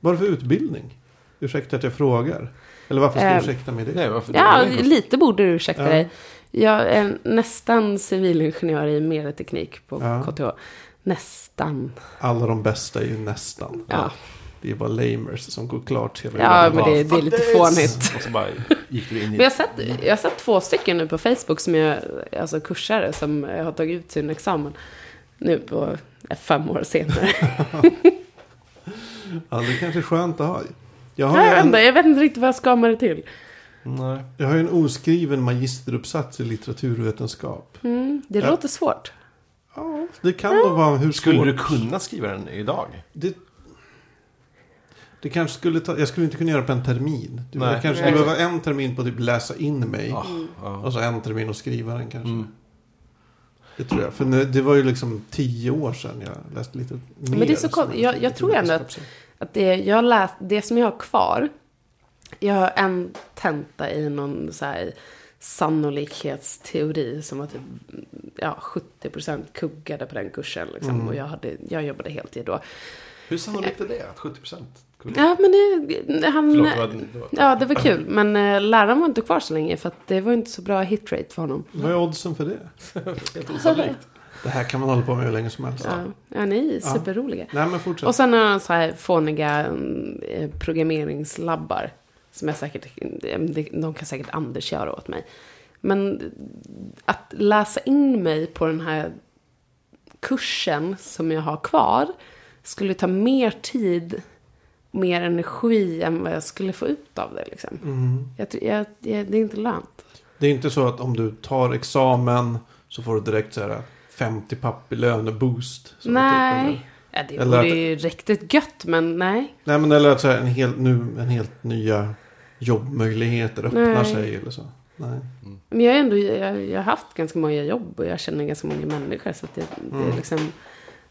S1: Vad är det för utbildning? Ursäkta att jag frågar. Eller varför ska
S3: Eh,
S1: jag ursäkta mig det?
S2: Nej, varför?
S3: Ja,
S2: det är ju-
S3: lite borde du ursäkta
S1: Ja.
S3: dig. Jag är nästan civilingenjör i medieteknik på
S1: Ja.
S3: KTH. Nästan.
S1: Alla de bästa är ju nästan.
S3: Ja,
S1: Det är bara lamers som går klart hela
S3: ja
S1: vägen.
S3: men det, det är lite fånigt.
S2: Och så bara gick du in
S3: Men jag
S2: i...
S3: har, sett, jag har sett två stycken nu på Facebook som jag, alltså kursare som har tagit ut sin examen. Nu på eh, fem år senare.
S1: Ja, det kanske är skönt att ha. Jag har,
S3: Nej,
S1: ju
S3: jag, vet
S1: en,
S3: inte, jag vet inte riktigt vad jag ska med det till.
S2: Nej.
S1: jag har ju en oskriven magisteruppsats i litteraturvetenskap.
S3: Mm, det
S1: Ja.
S3: låter svårt.
S1: Ja, det kan då vara hur
S2: Skulle
S1: svårt-
S2: du kunna skriva den
S3: Mm.
S2: idag?
S1: Det, det kanske skulle ta... Jag skulle inte kunna göra på en termin. Du,
S2: Nej.
S1: jag kanske
S3: Nej.
S1: skulle behöva en termin på att typ läsa in mig.
S2: Ah, ja.
S1: Och så en termin att skriva den kanske.
S2: Mm.
S1: Det tror jag. För nu, det var ju liksom tio år sedan jag läste lite mer.
S3: Men det är så
S1: som
S3: kon- jag- jag tror ändå att-
S1: litteraturvetenskap.
S3: Att det, jag läst, det som jag har kvar, jag har en tenta i någon så här sannolikhetsteori som var typ ja, 70% kuggade på den kursen. Liksom. Och jag, hade, jag jobbade heltid då.
S2: Hur sannolikt är det? Att 70 procent?
S3: Ja, men det, han...
S2: Förlåt, det var- det var-
S3: Ja, det var kul. Men eh, läraren var inte kvar så länge för att det var inte så bra hitrate för honom.
S1: Vad är oddsen för det?
S2: Helt osannolikt.
S1: Det här kan man hålla på med hur länge som helst.
S3: Ja, ja ni är
S1: Ja.
S3: superroliga.
S1: Nej men fortsätt.
S3: Och sen har han så här fåniga mm, eh, programmeringslabbar. Som jag säkert, eh, de- de kan säkert Anders göra åt mig. Men att läsa in mig på den här kursen som jag har kvar skulle ta mer tid, mer energi än vad jag skulle få ut av det. Liksom.
S1: Mm.
S3: Jag, ty- jag, jag, det är inte lönt.
S1: Det är inte så att om du tar examen så får du direkt så här 50 papp i löneboost. Så
S3: nej.
S1: Typ, eller-
S3: ja, det
S1: Eller
S3: vore
S1: att-
S3: ju riktigt gött, men nej.
S1: nej men eller att så här, en, helt, nu, en helt nya jobbmöjligheter öppnar
S3: Nej.
S1: sig eller så. Nej.
S3: Men jag, är ändå, jag, jag har haft ganska många jobb och jag känner ganska många människor. Så att det, det är liksom...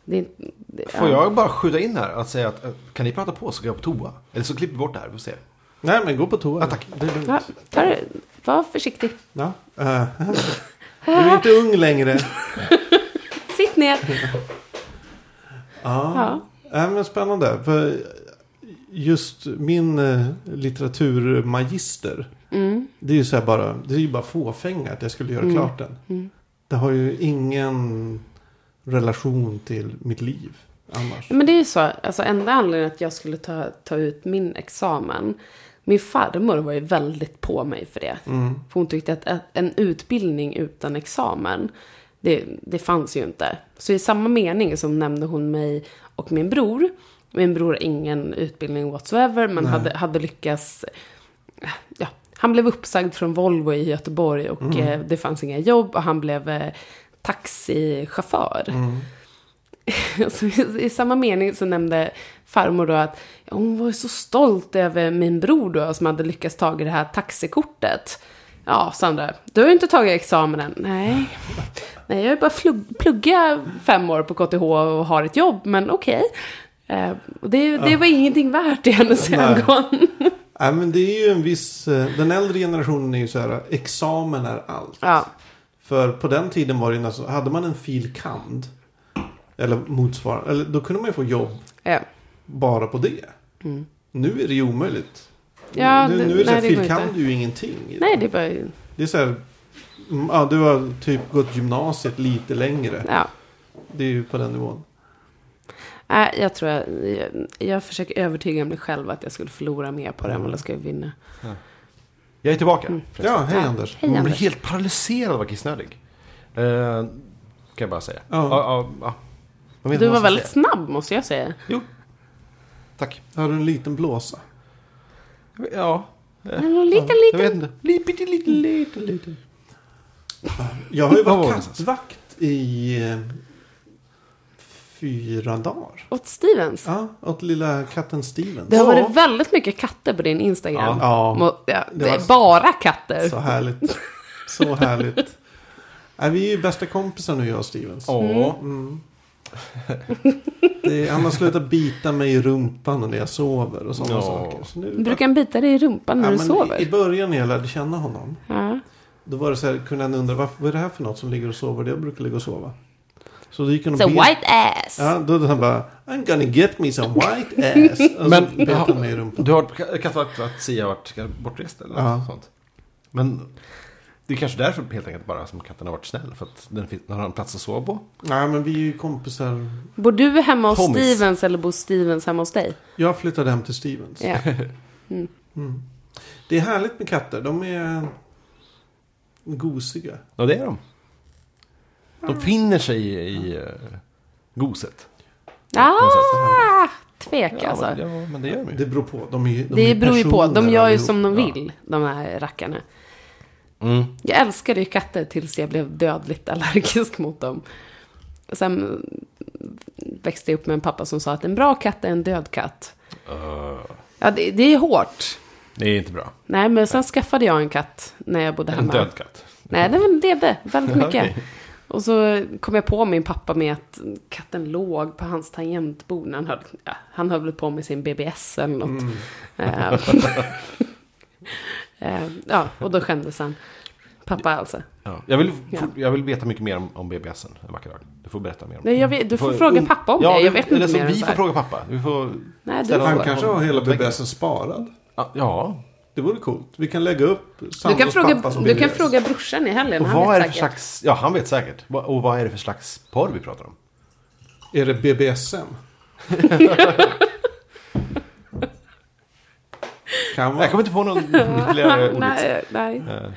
S3: Det, är- det,
S2: Får
S3: ja.
S2: jag bara skjuta in här att säga att eh, kan ni prata på så går jag på toa? Eller så klipper vi bort det här, vi får se.
S1: nej men gå på toa.
S2: Ja, tack.
S1: Det är lugnt.
S3: Ja, ta det, var försiktig.
S1: Ja. Eh, du är inte ung längre.
S3: Sitt ner.
S1: Ja.
S3: Ja.
S1: Ja, men spännande. För just min eh, litteraturmagister.
S3: Mm.
S1: Det är ju så här bara, det är ju bara fåfänga att jag skulle göra
S3: Mm.
S1: klart den.
S3: Mm.
S1: Det har ju ingen relation till mitt liv annars.
S3: Men det är ju så, alltså enda anledningen att jag skulle ta, ta ut min examen. Min farmor var ju väldigt på mig för det.
S1: Mm.
S3: För hon tyckte att att en utbildning utan examen, det, det fanns ju inte. Så i samma mening som nämnde hon mig och min bror. Min bror har ingen utbildning whatsoever, men hade, hade lyckats... eh, Ja, han blev uppsagd från Volvo i Göteborg och eh, det fanns inga jobb och han blev eh, taxichaufför.
S1: Mm.
S3: Så Alltså, i, I samma mening så nämnde farmor då att ja, hon var ju så stolt över min bror då som hade lyckats ta det här taxikortet. Ja, Sandra, du har ju inte tagit examen än. Nej, Nej jag har ju bara flug- plugga fem år på KTH och har ett jobb, men okej. Eh, och det, det var ingenting värt i hennes
S1: Nej.
S3: ögon.
S1: Nej, Äh, men det är ju en viss, eh, den äldre generationen är ju så här, eh, examen är allt.
S3: Ja,
S1: För på den tiden var det ju nästan, hade man en fil. kand. Eller motsvarande, eller då kunde man ju få jobb
S3: ja.
S1: bara på det. Nu är det ju omöjligt.
S3: Mm. Ja,
S1: nu,
S3: det-
S1: nu är det så här,
S3: nej, det går
S1: fil. kand
S3: inte.
S1: är ju ingenting.
S3: Nej, det var ju...
S1: Det är så här, mm, ja, du har typ gått gymnasiet lite längre.
S3: Ja.
S1: Det är ju på den nivån.
S3: Nej, jag tror jag, jag, jag försöker övertyga mig själv att jag skulle förlora mer på det än vad jag skulle vinna.
S2: Jag är tillbaka.
S1: Ja, hej
S3: Ja,
S1: Anders.
S3: Mm.
S2: Man
S3: Hej
S2: blir
S3: Anders.
S2: helt paralyserad av att vara kissnödig. Eh, kan jag bara säga.
S1: Ja.
S2: Ja, ja, ja. Man vet inte
S3: Du var
S2: vad man
S3: väldigt
S2: ska säga.
S3: snabb måste jag säga.
S2: Jo. Tack.
S1: Har du en liten blåsa?
S2: Ja.
S3: En liten,
S2: Jag vet
S3: liten.
S2: inte. Lite, lite, lite, lite, lite.
S1: Jag har ju
S2: Var var vi
S1: varit
S2: någonstans?
S1: kattvakt i eh, fyra dagar.
S3: Åt Stevens.
S1: Ja, åt lilla katten Steven.
S3: Det har
S1: Ja,
S3: varit väldigt mycket katter på din Instagram.
S1: Ja.
S3: Må- ja,
S1: Det
S3: det
S1: var-
S3: är bara katter.
S1: Så härligt. Så härligt. Nej, vi är ju bästa kompisar nu jag och Stevens.
S2: Ja.
S1: Mm. Det är, han har slutat bita mig i rumpan när jag sover och sådana
S2: Ja.
S1: saker. Så nu,
S3: Brukar han bita dig i rumpan när
S1: Ja,
S3: du
S1: men
S3: sover?
S1: I, I början när jag lärde känna honom.
S3: Ja.
S1: Då var det så här, kunde han undra vad, vad är det här för något som ligger och sover? Det jag brukar ligga och sova. Så då gick han och
S3: It's a
S1: bet-
S3: white ass.
S1: Ja, då hade han bara I'm gonna get me some white ass. Alltså, Och
S2: Men-
S1: så bet han mig i rumpan.
S2: Du har varit kattvakt för att Sia har varit bortrest eller
S1: Ja.
S2: något sånt. Men det är kanske därför helt enkelt bara som katten har varit snäll. För att den, fin- den har en plats att sova på.
S1: Nej, men vi är ju kompisar.
S3: Bor du hemma hos
S2: Homies.
S3: Stevens eller bor Stevens hemma hos dig?
S1: Jag flyttade hem till Stevens.
S3: Ja.
S1: Det är härligt med katter. De är gosiga.
S2: Ja, det är de. De finner sig i, i eh, goset.
S3: Ah, tvek
S2: Ja,
S3: alltså.
S2: men, ja, men det gör de ju.
S1: Det beror på. De är, ju- de är
S3: Det beror ju på. De
S1: personer
S3: gör ju
S1: allihop.
S3: som de
S1: Ja.
S3: vill, de här rackarna.
S2: Mm.
S3: Jag älskade ju katter tills jag blev dödligt allergisk mot dem. Sen växte jag upp med en pappa som sa att en bra katt är en död katt.
S2: Eh,
S3: Ja, det, det är hårt.
S2: det är inte bra.
S3: Nej, men sen skaffade jag en katt när jag bodde
S2: En
S3: hemma.
S2: död katt.
S3: Nej, den levde väldigt
S2: Ja,
S3: mycket.
S2: okej.
S3: Och så kom jag på min pappa med att katten låg på hans tangentbord. när Han höll, ja, han höll väl på med sin BBS eller något.
S2: Mm.
S3: Eh, eh, ja, och då skämdes han. Pappa alltså.
S2: Ja. Jag, vill,
S3: Ja.
S2: for- jag vill veta mycket mer om, om BBSen en vacker dag. Du får berätta mer om
S3: Nej, jag vet, du får
S2: Får-
S3: fråga pappa om det. Jag vet
S2: eller
S3: inte
S2: så
S3: mer än
S2: Vi
S3: så
S2: får
S3: här.
S2: fråga pappa. Vi får...
S3: Nej, du
S2: ställa
S3: får.
S1: Han
S2: frågor.
S1: kanske har hela BBSen sparad.
S2: Ja, Ja.
S1: Det vore coolt. Vi kan lägga upp
S3: Du kan,
S1: Sandros
S3: fråga,
S1: pappas
S3: du kan
S1: BBS.
S3: fråga brorsan i helgen.
S2: Och
S3: Han
S2: vad
S3: vet
S2: är det för
S3: säkert.
S2: slags... Ja, han vet säkert. Va- Och vad är det för slags porr vi pratar om?
S1: Är det BBSM? kan vara.
S2: Jag kommer inte på någon ytterligare ordvits.
S3: nej, nej.
S2: Eh,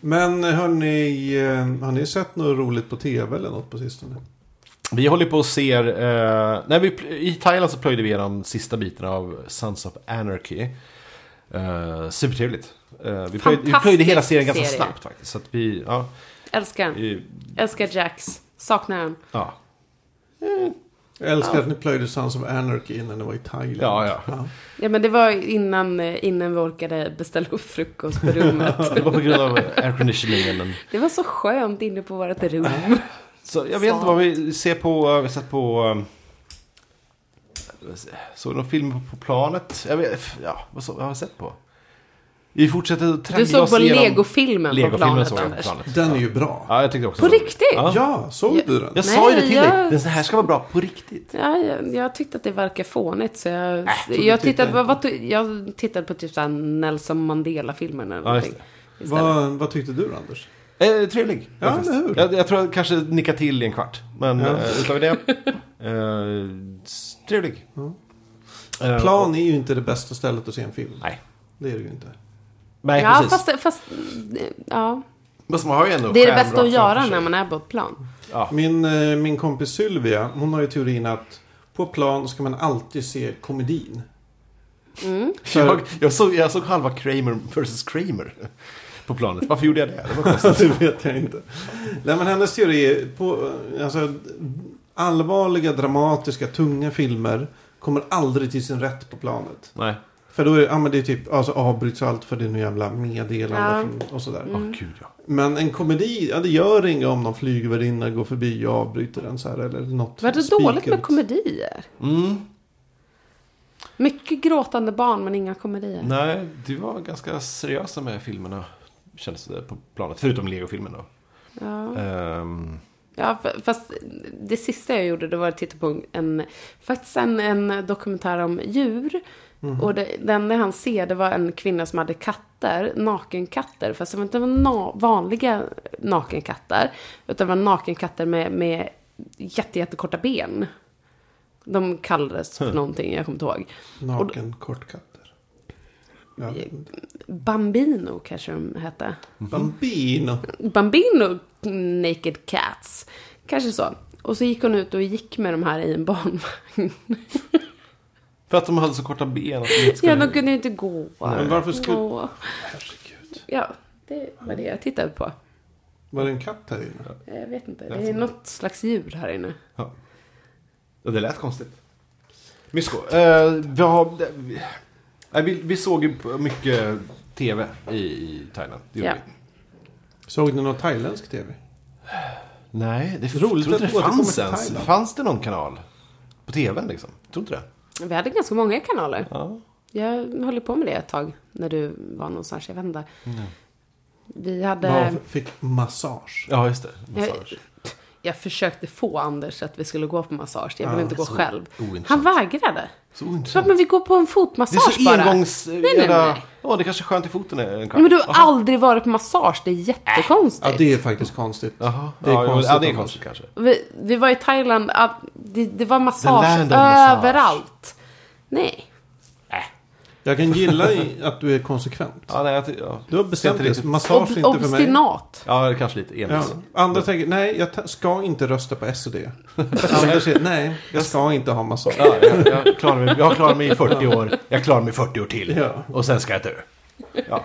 S1: Men hörni, eh, har ni sett något roligt på tv eller något på sistone?
S2: Vi håller på och ser... Eh, nej, vi, pl- I Thailand så plöjde vi igenom sista biten av Sons of Anarchy. Eh, supertrevligt. Eh, vi, plöjde, vi
S3: Fantastisk
S2: plöjde hela serien ganska
S3: serie.
S2: snabbt faktiskt. Så att vi... Ja,
S3: Älskar han.
S2: vi,
S3: Älskar Jax. Saknar han.
S2: ja.
S1: Jag älskar att ni plöjde Sons of Anarchy när ni var i Thailand.
S2: Ja, ja.
S3: Ja, men det var innan, eh, innan vi orkade beställa upp frukost på rummet.
S2: Det var på grund av airconditioningen. men-
S3: Det var så skönt inne på vårt rum.
S2: Så jag vet inte vad vi ser på, eh, vi satt på... eh, Såg någon film på planet? Jag vet, ja, vad, så, vad har jag sett på? Vi fortsätter att
S3: Du
S2: tränga
S3: såg
S2: oss
S3: på
S2: igenom...
S3: legofilmen på
S2: Legofilmen
S3: planet,
S2: såg jag på
S3: Anders.
S2: planet.
S1: Den är ju bra.
S2: Ja, jag tyckte också
S3: På
S2: så.
S3: riktigt?
S2: Ja.
S1: Ja, såg du den?
S2: Jag sa ju det
S3: Nej,
S2: till
S3: jag-
S2: dig. Den här ska vara bra på riktigt.
S3: Ja, jag, jag tyckte att det verkar fånigt så jag,
S1: så du
S2: typ
S3: jag,
S1: tittade
S3: tittade, vad, vad, ty- jag tittade på typ såhär Nelson Mandela-filmen eller
S2: Ja, just
S3: någonting. istället.
S1: Vad, vad tyckte du Anders?
S2: Eh, trevlig.
S1: Ja,
S2: faktiskt.
S1: eller hur?
S2: Jag, jag tror jag kanske nickar till i en kvart. Men
S1: Ja.
S2: eh, utöver det. Eh, s- trevlig. Eh,
S1: Plan är ju inte det bästa stället att se en film.
S2: Nej.
S1: Det är det ju inte.
S2: Nej,
S3: ja,
S2: precis.
S3: fast, fast ja.
S2: Fast man har ju ändå
S3: det är det
S2: skärm
S3: bästa
S2: rakt
S3: att göra
S2: framför sig.
S3: när man är på ett plan.
S1: Min, eh, min kompis Sylvia, hon har ju teorin att på plan ska man alltid se komedin.
S3: Mm.
S2: Mm. Jag, jag, såg, jag såg halva Kramer versus Kramer på planet. Varför gjorde jag det? det var konstigt.
S1: det vet jag inte. Nej men hennes teori är på, alltså, allvarliga, dramatiska, tunga filmer kommer aldrig till sin rätt på planet.
S2: Nej.
S1: För då är ja, men det är typ, alltså avbryts allt för det är nu jävla meddelande från- och sådär.
S3: Mm.
S2: Åh gud ja.
S1: Men en komedi, ja, det gör inget om någon flygvärdinna går förbi och avbryter den så här eller något.
S3: Var det
S1: spikat.
S3: dåligt med komedier?
S2: Mm,
S3: Mycket gråtande barn men inga komedier.
S2: nej, du var ganska seriösa med filmerna. Kändes det på planet. Förutom Lego-filmen då.
S3: Ja.
S2: Ehm,
S3: Ja, f- fast det sista jag gjorde det var att titta på en, faktiskt en, en dokumentär om djur.
S1: Mhm.
S3: Och det, det enda han ser det var en kvinna som hade katter, nakenkatter. Fast det var inte na, vanliga nakenkatter. Utan det var nakenkatter med, med jätte, jättekorta ben. De kallades för någonting, jag kommer inte ihåg.
S1: Naken kortkatter. Ja.
S3: Bambino kanske de hette.
S1: Bambino.
S3: Bambino Naked Cats. Kanske så. Och så gick hon ut och gick med de här i en barnvagn.
S2: för att de hade så korta ben. Att de inte
S3: Ja,
S2: skulle...
S3: de kunde ju inte gå.
S1: Men varför skulle...
S3: Gå.
S1: Herregud.
S3: Ja, det var det jag tittade på.
S1: Var det en katt här inne?
S3: Jag vet inte,
S1: Alltså-
S3: det är något slags djur här inne.
S2: Ja, det lät konstigt. Mysko. Eh, vi, har, eh, vi, vi såg ju på mycket tv i, i Thailand. Det gjorde
S3: Ja.
S2: vi.
S1: Såg ni någon thailändsk tv?
S2: Nej, det
S1: Roligt
S2: trodde
S1: att
S2: det
S1: du återkommer
S2: fanns
S1: till
S2: ens.
S1: Thailand.
S2: Fanns det någon kanal? På tvn liksom? Tror inte det.
S3: Vi hade ganska många kanaler.
S2: Ja.
S3: Jag höll på med det ett tag när du var någonstans, jag vet inte. Vi hade...
S1: Man fick massage.
S2: Ja, just det. Massage.
S3: Jag, jag försökte få Anders att vi skulle gå på massage. Jag ville
S1: Ja,
S3: inte gå
S2: så
S3: själv.
S2: ointressant.
S3: Han vägrade.
S2: Så
S3: Så,
S2: ointressant.
S3: men vi går på en
S2: Det är
S3: fotmassage
S2: så
S3: bara.
S2: engångs...
S3: nej, nej.
S2: jävla- Ja, det kanske är skönt i foten en kvart.
S3: Ja, men du har
S2: Jaha.
S3: aldrig varit på massage, det är jättekonstigt.
S1: Ja, det är faktiskt konstigt.
S2: Jaha.
S1: Det är
S2: ja,
S1: konstigt.
S2: Ja, det är konstigt kanske.
S3: vi, vi var i Thailand, ja, det, det var
S2: The
S3: massage
S2: land of massage.
S3: överallt. Nej.
S1: Jag kan gilla i att du är konsekvent.
S2: Ja, nej, jag ty- ja.
S1: Du har bestämt
S2: Inte
S1: dig.
S2: riktigt.
S1: Massage är
S3: Ob-
S1: inte för mig.
S3: obstinat.
S2: Ja, kanske lite
S1: Ja.
S2: envis.
S1: Andra tänker, nej, jag ta- ska inte rösta på SED. Andra säger, nej, jag ska inte ha massage.
S2: Ja, jag, jag, klarar mig, jag har klarat mig i 40 år, jag klarar mig i 40 år till.
S1: Ja.
S2: Och sen ska jag dö. Ja.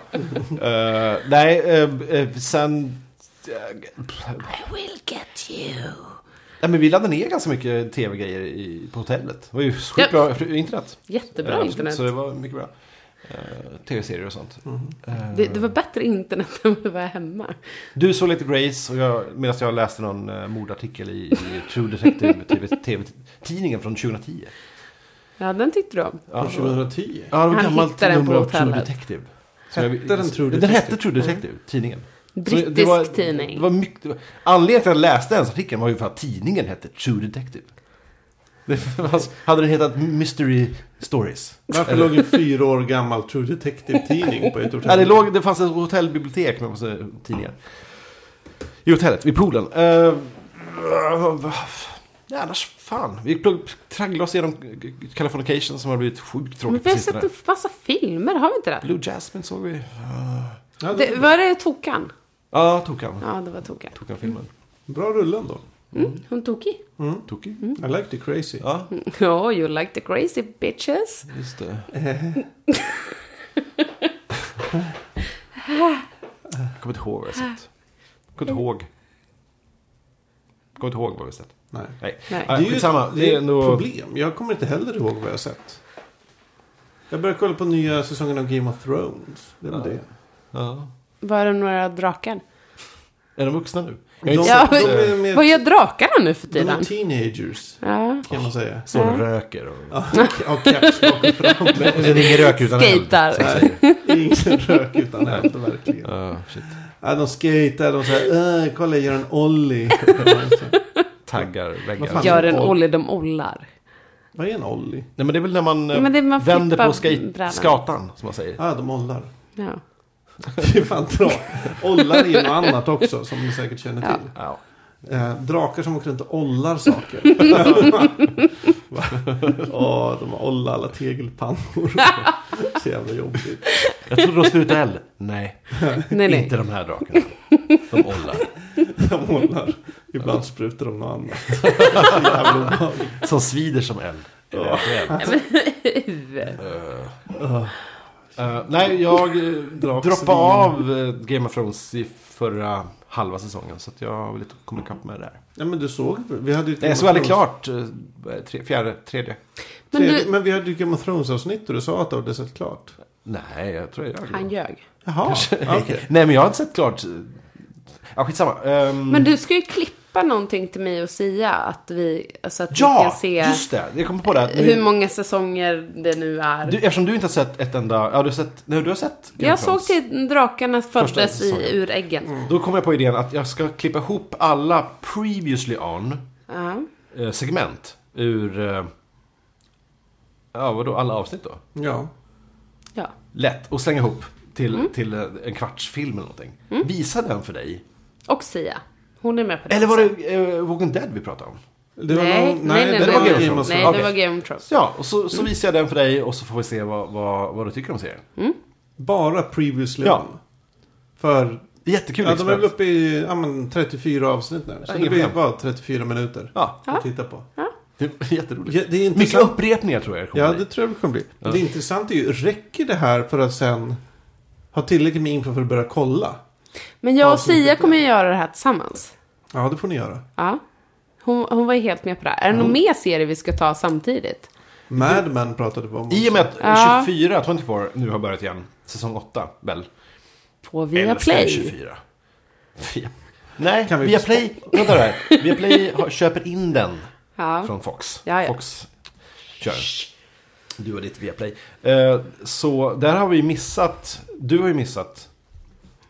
S2: Eh, nej, eh, eh, sen...
S3: I will get you.
S2: Nej, men vi laddade ner ganska mycket tv-grejer i, på hotellet. Det var ju sjukt
S3: Ja.
S2: bra internet.
S3: Jättebra
S2: Eh, så-
S3: internet.
S2: Så det var mycket bra. Eh, tv-serier och sånt.
S1: Mm-hmm.
S2: Eh,
S3: Det, det var bättre internet än vi var hemma.
S2: Du såg lite Grace och jag, medan jag läste någon eh, mordartikel i, i True Detective TV, TV-tidningen från 2010.
S3: Ja, den tyckte du om.
S2: Ja,
S1: Från 2010.
S2: Ja, det var
S3: Han
S2: ett gammalt
S3: hittade den
S2: nummer
S3: på
S2: av True
S3: hotellet.
S2: Detective.
S1: Hette
S2: Som
S1: den True
S2: Den
S1: Detective? Mm.
S2: hette True Detective, tidningen. Så
S3: Brittisk
S2: det var-
S3: tidning.
S2: Det var mycket, det var- anledningen till att jag läste ens artikeln var ju för att tidningen hette True Detective. Det fanns- hade den hetat Mystery Stories?
S1: Varför låg en fyra år gammal True Detective-tidning på ett
S2: Ja, det,
S1: hotell?
S2: låg, det fanns ett hotellbibliotek med massa tidningar. I hotellet, vid poolen. Uh, ja, annars fan. Vi plugg- tragglade oss igenom Californication som har blivit sjukt
S3: Men
S2: tråkigt
S3: vi
S2: på
S3: har
S2: sistone.
S3: sett en massa filmer, har vi inte det?
S2: Blue Jasmine såg vi.
S1: Ja, det-
S3: det var det Tokan?
S2: Ja, tog han.
S3: Ja, det var Tokan.
S2: Tog han filmen.
S1: Bra rulle då.
S3: Mm, hon tokig.
S1: Mm.
S2: Tokig.
S3: Mm.
S1: I like the crazy.
S2: Ja,
S3: Ja, you like the crazy bitches.
S2: just det. Jag kommer inte ihåg vad jag sett. Jag kommer inte ihåg. Jag kommer inte ihåg vad vi sett.
S1: Nej.
S2: Nej,
S3: Nej.
S1: Det är ju
S2: skitsamma.
S1: ett, det är ett problem. Jag kommer inte heller ihåg vad jag har sett. Jag börjar kolla på nya säsongen av Game of Thrones. Det är väl
S2: Ja.
S1: det.
S2: Ja.
S3: Var det några drakar?
S2: Är de vuxna nu? Jag
S1: De,
S2: har inte
S3: Ja,
S2: sett,
S1: de
S2: eh,
S1: är mer,
S3: Vad gör drakarna nu för
S1: de är
S3: tiden?
S1: teenagers
S3: Ja.
S1: kan man säga.
S2: Står och
S3: Ja.
S2: röker och...
S1: Ja, ja, caps bak och fram.
S2: Men, men ingen rök utan
S3: Skejtar.
S2: eld. Skejtar.
S1: Ingen rök utan eld, verkligen.
S2: Ja, shit.
S1: Ja, de skejtar, de säger äh, kolla jag gör en ollie.
S2: Taggar, väggar.
S1: Vad fan?
S3: Gör en ollie, de ollar.
S1: Vad är en ollie?
S2: Nej men det är väl när man, eh,
S3: Ja, men det är man
S2: vänder
S3: flippar
S2: på skate,
S3: brädan.
S2: skatan som man säger.
S1: Ja, ah, de ollar.
S3: Ja.
S1: Det är fan dra. Ollar är ju något annat också som ni säkert känner till.
S2: Ja.
S1: Eh, drakar som åker runt och ollar saker. Va? Åh, de har ollat alla tegelpannor. Så jävla jobbigt.
S2: Jag trodde de slutade eld. Nej,
S3: Nej, nej.
S2: inte de här drakarna. De ollar.
S1: De ollar. Ibland sprutar de något annat. Så jävla obehagligt.
S2: Som svider som eld. Är det
S1: Ja.
S2: eld? Eh, nej, jag eh, droppade av eh, Game of Thrones i förra halva säsongen. Så att jag vill inte komma ikapp med det där.
S1: Nej men du såg Vi hade ju ett Game
S2: Nej, jag
S1: of
S2: såg aldrig
S1: Thrones-
S2: klart eh, tre, fjärde, tredje.
S3: Men
S1: Tredje-
S3: du,
S1: Men vi hade ju Game of Thrones-avsnitt och du sa att du hade sett klart.
S2: Nej, jag tror jag gör det.
S3: han ljög.
S2: Mm.
S1: Jaha, okej.
S2: Nej, men jag har inte sett klart. eh, Ja, skitsamma. Ehm,
S3: Men du ska ju klippa någonting till mig och Sia. Att vi, så att vi
S2: ja,
S3: kan se
S2: just det. Jag kom på det. här.
S3: hur många säsonger det nu är.
S2: du, eftersom du inte har sett ett enda... Ja, du har sett... Nej, du har sett Game
S3: jag
S2: of Thrones.
S3: såg till drakarna föddes
S2: säsongen. Mm.
S3: i, ur äggen.
S2: Då kom jag på idén att jag ska klippa ihop alla previously on
S3: Ja.
S2: eh, segment ur... eh, Ja, vadå? Alla avsnitt då?
S1: Ja.
S3: ja.
S2: Lätt. Och slänga ihop till, till eh, en kvarts film eller någonting. Visa den för dig.
S3: Och Sia. Hon är med på det.
S2: Eller var
S3: också.
S2: det eh, Walking Dead vi pratade om?
S1: Det
S3: Nej,
S1: någon-
S3: nej, nej.
S1: det
S3: nej,
S1: var
S3: nej,
S1: Game of
S3: nej,
S1: Thrones.
S3: det var
S2: Okej.
S3: Game of Thrones.
S2: Så ja, och så, så visar jag den för dig och så får vi se vad, vad, vad du tycker om serien.
S1: Bara previously
S2: Ja.
S1: on. För
S2: Jättekul
S1: ja, de är väl
S2: experiment.
S1: uppe i ja, men 34 avsnitt nu. Så
S2: Ja,
S1: det
S2: inga
S1: blir
S2: problem.
S1: bara 34 minuter
S2: Ja,
S1: att titta på.
S2: det är jätteroligt.
S1: Ja, det är
S2: Mycket
S1: intressant.
S2: upprepningar tror jag det kommer
S1: Ja,
S2: bli.
S1: det tror jag det kommer bli. Men det intressanta är ju, räcker det här för att sen ha tillräckligt med info för att börja kolla?
S3: Men jag och
S1: Avsnittet
S3: Sia
S1: där.
S3: kommer ju göra det här tillsammans.
S1: Ja, det får ni göra.
S3: Ja. Hon, hon var ju helt med på det här. Är det
S2: Mm.
S3: någon mer serie vi ska ta samtidigt?
S1: Mad Men pratade vi om.
S2: I och med att
S3: Ja.
S2: 24, 24 nu har börjat igen. Säsong 8, väl?
S3: På
S2: Älskar
S3: Viaplay.
S2: 24. Via. Nej,
S1: Kan vi-
S2: Viaplay, vänta där. Viaplay har- köper in den
S3: Ja.
S2: från Fox.
S3: Ja, ja.
S2: Fox kör den. Du och ditt Viaplay. Eh, Så där har vi ju missat, du har ju missat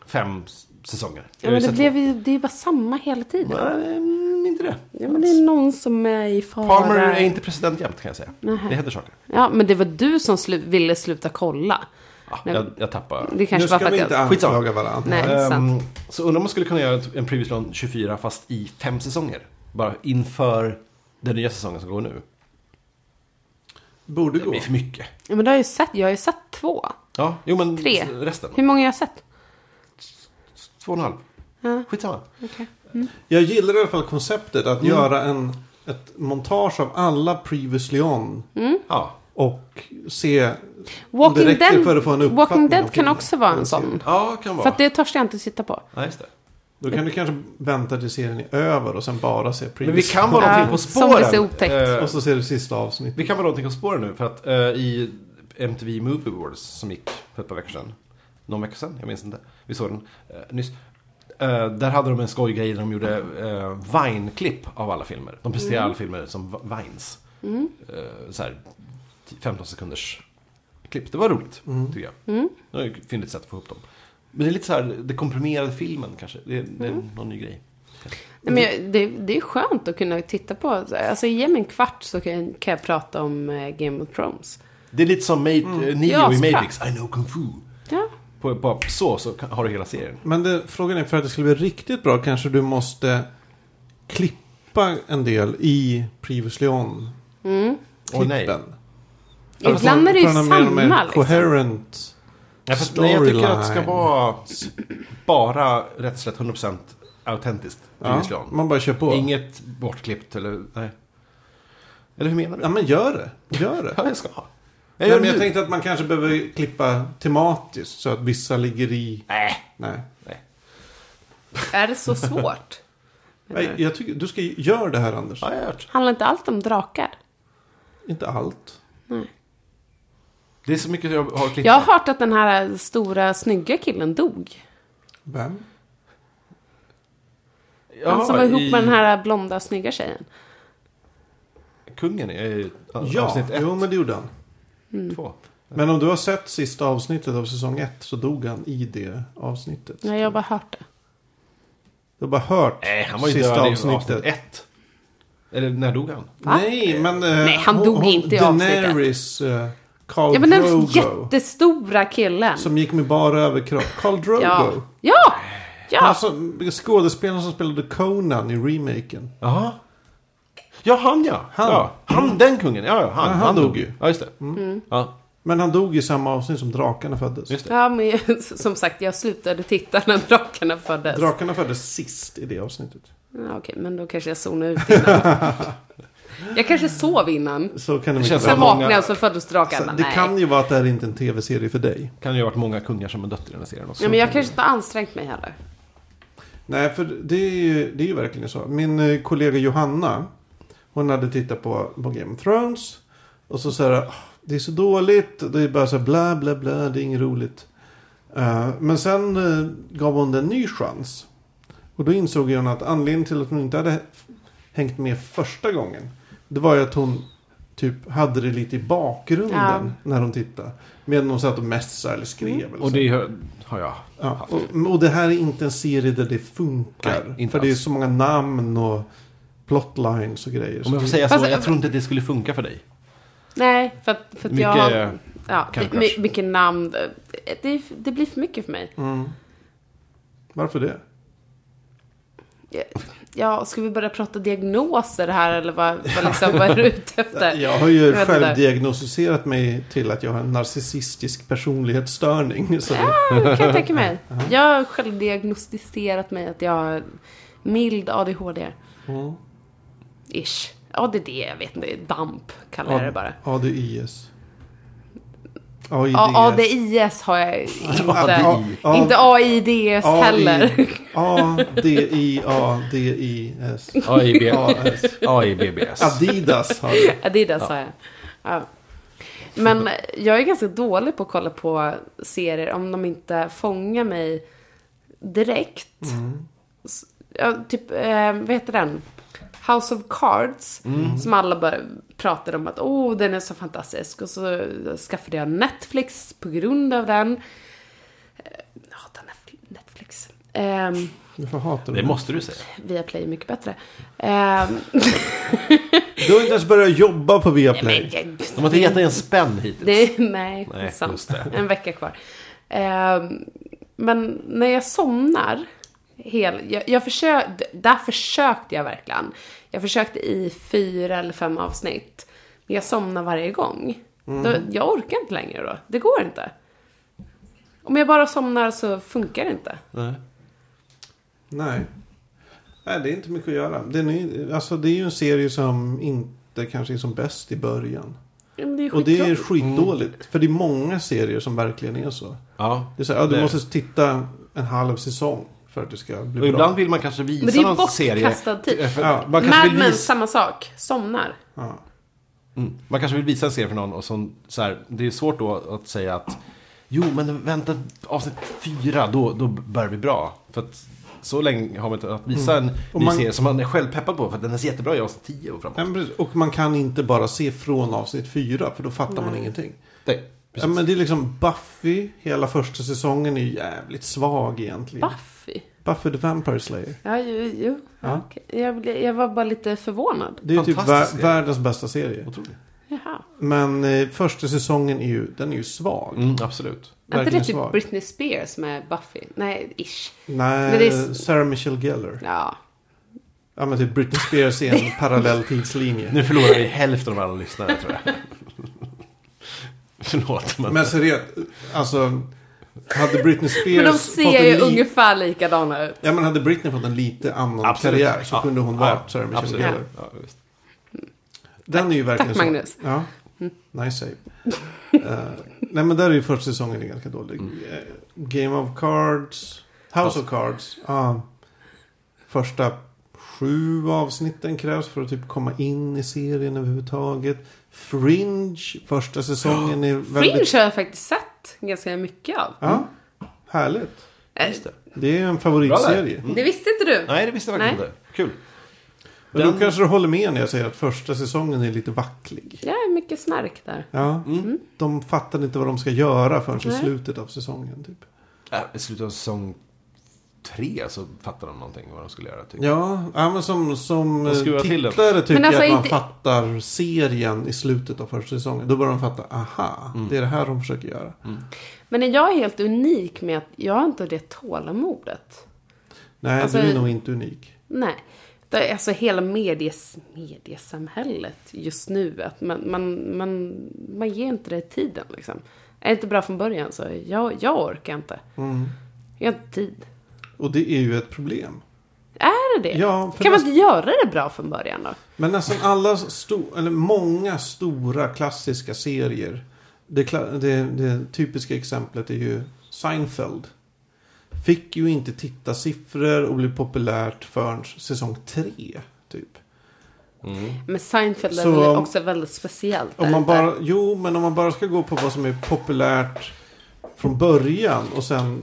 S2: fem s- säsonger. Jag har
S3: Ja,
S2: ju
S3: men det,
S2: sett
S3: blev ju, det är ju bara samma hela
S2: två.
S3: tiden.
S2: Nej, mm, inte det.
S3: Ja, men det är någon som är i fara.
S2: Palmer är inte president jämt kan jag säga.
S3: Nähä.
S2: Det händer saker.
S3: Ja, men det var du som slu- ville sluta kolla.
S2: Ja,
S3: Nej.
S2: Ah, jag, jag tappar.
S3: Det kanske
S1: nu ska
S3: var för att
S1: vi
S3: jag...
S1: inte
S2: Skitsamma.
S1: anklaga varandra.
S3: Nej,
S2: Ehm,
S3: sant.
S2: så undrar om man skulle kunna göra ett- en previous run 24 fast i fem säsonger. Bara inför den nya säsongen som går nu.
S1: Borde
S2: Det
S1: gå.
S2: blir för mycket.
S3: Ja, men du har ju sett, jag har ju sett två.
S2: Ja, jo men
S3: Tre.
S2: resten.
S3: Hur många har jag sett?
S2: Två och en halv.
S3: Ja,
S2: Skitsamma.
S3: okej.
S1: Jag gillar i alla fall konceptet att göra en, ett montage av alla previously on.
S2: Ja.
S1: Och se om det
S3: Walking
S1: räcker
S3: Dead,
S1: för att få en uppfattning.
S3: Walking
S1: om
S3: Dead kan
S1: filmen.
S3: också vara en sån.
S2: ja, kan
S3: För
S2: vara.
S3: att det törs jag inte sitta på.
S2: Ja, just det.
S1: Då kan du kanske vänta till serien är över och sen bara se
S2: Men vi
S1: previously
S2: kan vara någonting
S3: Ja,
S2: på
S3: som
S2: spåren.
S3: det ser otäckt.
S2: Eh,
S1: Och så ser du sista avsnittet.
S2: vi kan vara någonting på spåren nu för att eh, i MTV Movie Awards som gick för ett par veckor sedan. Någon vecka sedan, jag minns inte. Vi såg den eh, nyss. Eh, där hade de en skojgrej där de gjorde eh, Vine-klipp av alla filmer. De presenterade alla filmer som v- Vines. Eh, så här, 15 sekunders klipp. Det var roligt, tycker jag. Det var ett fyndigt sätt att få ihop dem. Men det är lite så här, det komprimerade filmen kanske. Det, det är någon ny grej.
S3: Nej, men jag, det, det är skönt att kunna titta på. Alltså ge mig en kvart så kan jag, kan jag prata om eh, Game of Thrones.
S2: Det är lite som Ma- eh, Neo
S3: Ja,
S2: i
S3: såklart.
S2: Matrix. I know Kung Fu.
S3: Ja.
S2: På, på, så, så kan- har du hela serien.
S1: Men det, frågan är, för att det skulle bli riktigt bra kanske du måste klippa en del i Previously on.
S2: Åh, nej.
S1: Klippen.
S3: Ibland Alltså, är det ju
S1: För att ha mer och mer
S3: samma liksom.
S1: coherent.
S2: Ja, fast, nej, jag tycker att det ska
S1: Storyline.
S2: vara s- bara rätt och slätt 100% autentiskt.
S1: Ja,
S2: Previously on.
S1: man bara kör på.
S2: Inget bortklippt eller... Nej. Eller hur menar du?
S1: Ja men gör det. Gör det.
S2: Ja, jag ska ha. Jag
S1: Jag, Nej,
S2: gör
S1: men jag
S2: det nu.
S1: tänkte att man kanske behöver klippa tematiskt så att vissa ligger i...
S2: Nej.
S1: Nej.
S3: Är det så svårt?
S1: Nej, jag tycker, du ska göra det här Anders.
S2: Ja, jag har hört.
S3: Handlar inte allt om drakar?
S1: Inte allt.
S2: Det är så mycket jag har klippt.
S3: Jag har eh, hört att den här stora snygga killen dog.
S1: Vem?
S3: Han som var ihop med den här eh, blonda snygga tjejen.
S2: Kungen i eh,
S1: Ja,
S2: avsnitt
S1: jo men det gjorde han.
S2: 1-2.
S1: Men om du har sett sista avsnittet av säsong 1 så dog han i det avsnittet.
S3: Nej, jag har bara hört det.
S1: Du har bara hört
S2: Nej, han var ju
S1: sista
S2: död i
S1: avsnittet.
S2: avsnitt 1. Eller när dog han?
S3: Va?
S1: Nej, men... eh,
S3: Nej, han dog inte i avsnitt ett.
S1: Daenerys, eh, Khal
S3: Ja, men den
S1: Drogo.
S3: jättestora killen.
S1: Som gick med bara överkropp. Khal Drogo.
S3: Ja. Ja! Ja!
S1: Alltså, skådespelaren som spelade Conan i remaken.
S2: Jaha. Ja, han ja.
S1: Han.
S2: Ja, han den kungen. Ja, ja han,
S1: han
S2: han
S1: dog
S2: dog
S1: ju. Mm.
S2: ju. Ja, just det. Ja,
S1: Men han dog i samma avsnitt som drakarna föddes.
S2: just det.
S3: Ja, men som sagt, jag slutade titta när drakarna föddes.
S1: Drakarna föddes sist i det avsnittet.
S3: Ja, okej, men då kanske jag zonade ut innan. jag kanske sov innan.
S1: Så kan det, mycket
S2: känns
S1: väl
S3: Sen
S1: vara.
S2: som-
S3: vaknade jag så föddes
S1: Så
S3: drakarna.
S1: det
S3: Nej.
S1: kan ju vara att det här inte är en tv-serie för dig.
S2: Kan ju ha varit många kungar som har dött i den här serien också.
S3: Ja, men jag kanske inte har ansträngt mig heller.
S1: Nej, för det är ju, det är ju verkligen så. Min eh, kollega Johanna, hon hade tittat på, på Game of Thrones. Och så så här, "Ah, det är så dåligt, det är bara så här bla bla bla, det är inget roligt. Eh, men sen eh, gav hon det en ny chans. Och då insåg hon att anledningen till att hon inte hade hängt med första gången. Det var ju att hon typ hade det lite i bakgrunden
S3: Ja.
S1: när hon tittade. Medan hon satt och messade eller skrev. Eller så.
S2: Och det har- har jag.
S1: Ja, och, och det här är inte en serie där det funkar.
S2: Nej, inte
S1: för det är
S2: alls.
S1: så många namn och plotlines och grejer.
S2: Om jag
S1: Så-
S2: får säga
S3: Fast-
S2: så, jag tror inte att det skulle funka för dig.
S3: Nej, för att, för att
S2: Mycket, eh,
S3: jag... Ja,
S2: Candy
S3: my,
S2: Crush.
S3: mycket namn. Det, det, det blir för mycket för mig.
S1: Mm. Varför det?
S3: Ja, ska vi börja prata diagnoser här eller vad, vad, liksom, vad är du ute efter?
S1: Jag har ju
S3: vet inte.
S1: själv diagnostiserat mig till att jag har en narcissistisk
S3: Äh,
S1: personlighetsstörning. Så
S3: Ja, Ah, kan jag tänka mig. Jag har själv diagnostiserat mig att jag har mild ADHD.
S1: Mm.
S3: Ish. ADD, jag vet inte. DAMP kallar jag det bara.
S1: ADIS. AIDS.
S3: Ja, ADIS har jag inte.
S1: ADI.
S3: Inte AIDS heller.
S1: A-D-I-A-D-I-S.
S2: AIB.
S1: AS.
S2: AIBBS.
S1: Adidas har det.
S3: Adidas har jag. Ja. Men jag är ganska dålig på att kolla på serier om de inte fångar mig direkt.
S1: Mm.
S3: S- Ja, typ, eh, vad heter den? House of Cards.
S2: Mm.
S3: Som alla bara pratade om att oh, den är så fantastisk. Och så skaffade jag Netflix på grund av den. Eh, Jag hatar Netf- Netflix. Ehm,
S1: Varför hatar du
S2: Det måste du säga.
S3: Viaplay är mycket bättre. Ehm,
S1: Du har inte ens börjat jobba på Viaplay.
S3: men jag-
S2: De har inte gett dig en spänn hittills.
S3: Det, nej,
S2: Nej,
S3: det är sant.
S2: just det.
S3: En vecka kvar. Ehm, men när jag somnar, hel, jag, jag försö, d- där försökte jag verkligen. Jag försökte i fyra eller fem avsnitt. Men jag somnar varje gång.
S2: Mm.
S3: Då, jag orkar inte längre då. Det går inte. Om jag bara somnar så funkar det inte.
S2: Nej.
S1: Nej. Nej, det är inte mycket att göra. Den är, alltså, det är ju en serie som inte kanske är som bäst i början.
S3: Men det är
S1: Och det är
S3: skittråkigt.
S1: skitdåligt.
S2: Mm.
S1: För det är många serier som verkligen är så.
S2: Ja.
S1: Det är så här, ja, du
S2: Det-
S1: måste titta en halv säsong för att det ska bli
S2: Och
S1: bra.
S2: ibland vill man kanske visa
S3: Men det är
S2: någon serie.
S3: bortkastad tid.
S2: Eh, för-
S1: Ja.
S2: Man kanske
S3: Mad
S2: vill
S3: Men
S2: visa...
S3: samma sak. Somnar.
S1: Ja.
S2: Mm. Man kanske vill visa en serie för någon och som, så här, det är svårt då att säga att Jo, men vänta avsnitt fyra, då, då börjar vi bra. För att så länge har man inte att visa en
S1: Och
S2: ny
S1: man-
S2: serie som Mm. man är själv peppad på för att den är så jättebra i avsnitt tio och framåt.
S1: Ja, men precis. Och man kan inte bara se från avsnitt fyra för då fattar man ingenting.
S2: Nej,
S1: Ja,
S2: precis.
S1: men det är liksom Buffy, hela första säsongen är ju jävligt svag egentligen.
S3: Buffy.
S1: Buffy the Vampire Slayer.
S3: Ja, jo, jo.
S1: Ja.
S3: Okej. Jag, blev- jag var bara lite förvånad.
S1: Det är ju typ
S2: Fantastisk
S1: vär-
S2: serie.
S1: världens bästa serie.
S2: Otroligt.
S3: Jaha.
S1: Men eh, första säsongen är ju, den är ju svag.
S2: Mm, absolut.
S3: Är inte det
S1: Verkligen
S3: typ
S1: svag.
S3: Britney Spears med Buffy? Nej, ish.
S1: Nej,
S3: Men det är-
S1: Sarah Michelle Gellar.
S3: Ja.
S1: Ja men typ Britney Spears är en parallell tidslinje.
S2: Nu förlorar vi hälften av alla lyssnare tror jag. Förlåt, men...
S1: Men seriöst, alltså. Hade Britney Spears
S3: Men de
S1: fått
S3: ser
S1: en
S3: ju
S1: li-
S3: ungefär likadana ut.
S1: Ja men hade Britney fått en lite annan
S2: Absolut.
S1: karriär så
S2: Ja.
S1: kunde hon
S2: Ja,
S1: varit Sarah Michelle
S2: absolut.
S1: Gellar.
S2: Ja, visst.
S1: Den är ju verkligen
S3: Tack,
S1: så.
S3: Magnus.
S1: Ja, Mm. nice save. Eh, nej men där är ju första säsongen är ganska dålig. Eh, Game of Cards, House of Cards. Ja. Första sju avsnitten krävs för att typ komma in i serien överhuvudtaget. Fringe, första säsongen är väldigt...
S3: Fringe har jag faktiskt sett ganska mycket av.
S1: Ja, härligt.
S2: Just det.
S1: Det är en favoritserie.
S2: Bra där.
S3: Det visste inte du?
S2: Nej, det visste jag faktiskt
S3: Nej.
S2: inte. Kul.
S1: Men då kanske du håller med när jag säger att första säsongen är lite vacklig.
S3: Ja, mycket snark där.
S1: Ja. De fattar inte vad de ska göra förrän i
S3: Nej.
S1: slutet av säsongen. Typ.
S2: Äh, I slutet av säsong tre så fattade de någonting vad de skulle göra. Tycker. jag.
S1: Ja, ja men som, som
S2: De skruvar
S1: eh,
S2: till den.
S1: tittare tycker
S3: Men alltså
S1: jag att man
S3: inte-
S1: fattar serien i slutet av första säsongen. Då börjar de fatta, aha,
S2: Mm.
S1: det är det här de försöker göra.
S3: Men är jag helt unik med att jag har inte det tålamodet?
S1: Nej,
S3: Alltså-
S1: du är nog inte unik.
S3: Nej. Det är alltså hela medies, mediesamhället just nu. Att man, man, man, man ger inte det tiden liksom. Är det inte bra från början så jag, jag orkar inte.
S1: Mm.
S3: Jag har inte tid.
S1: Och det är ju ett problem.
S3: Är det det?
S1: Ja, för
S3: kan man
S1: näst-
S3: inte göra det bra från början då?
S1: Men nästan alla, sto- eller många stora klassiska serier. Det, kla- det, det typiska exemplet är ju Seinfeld. Fick ju inte titta siffror och blev populärt förrän säsong tre. Typ.
S3: Men Seinfeld är
S1: Så
S3: väl
S1: om-
S3: också väldigt speciellt.
S1: Om
S3: där,
S1: man
S3: där.
S1: bara, jo, men om man bara ska gå på vad som är populärt från början och sen...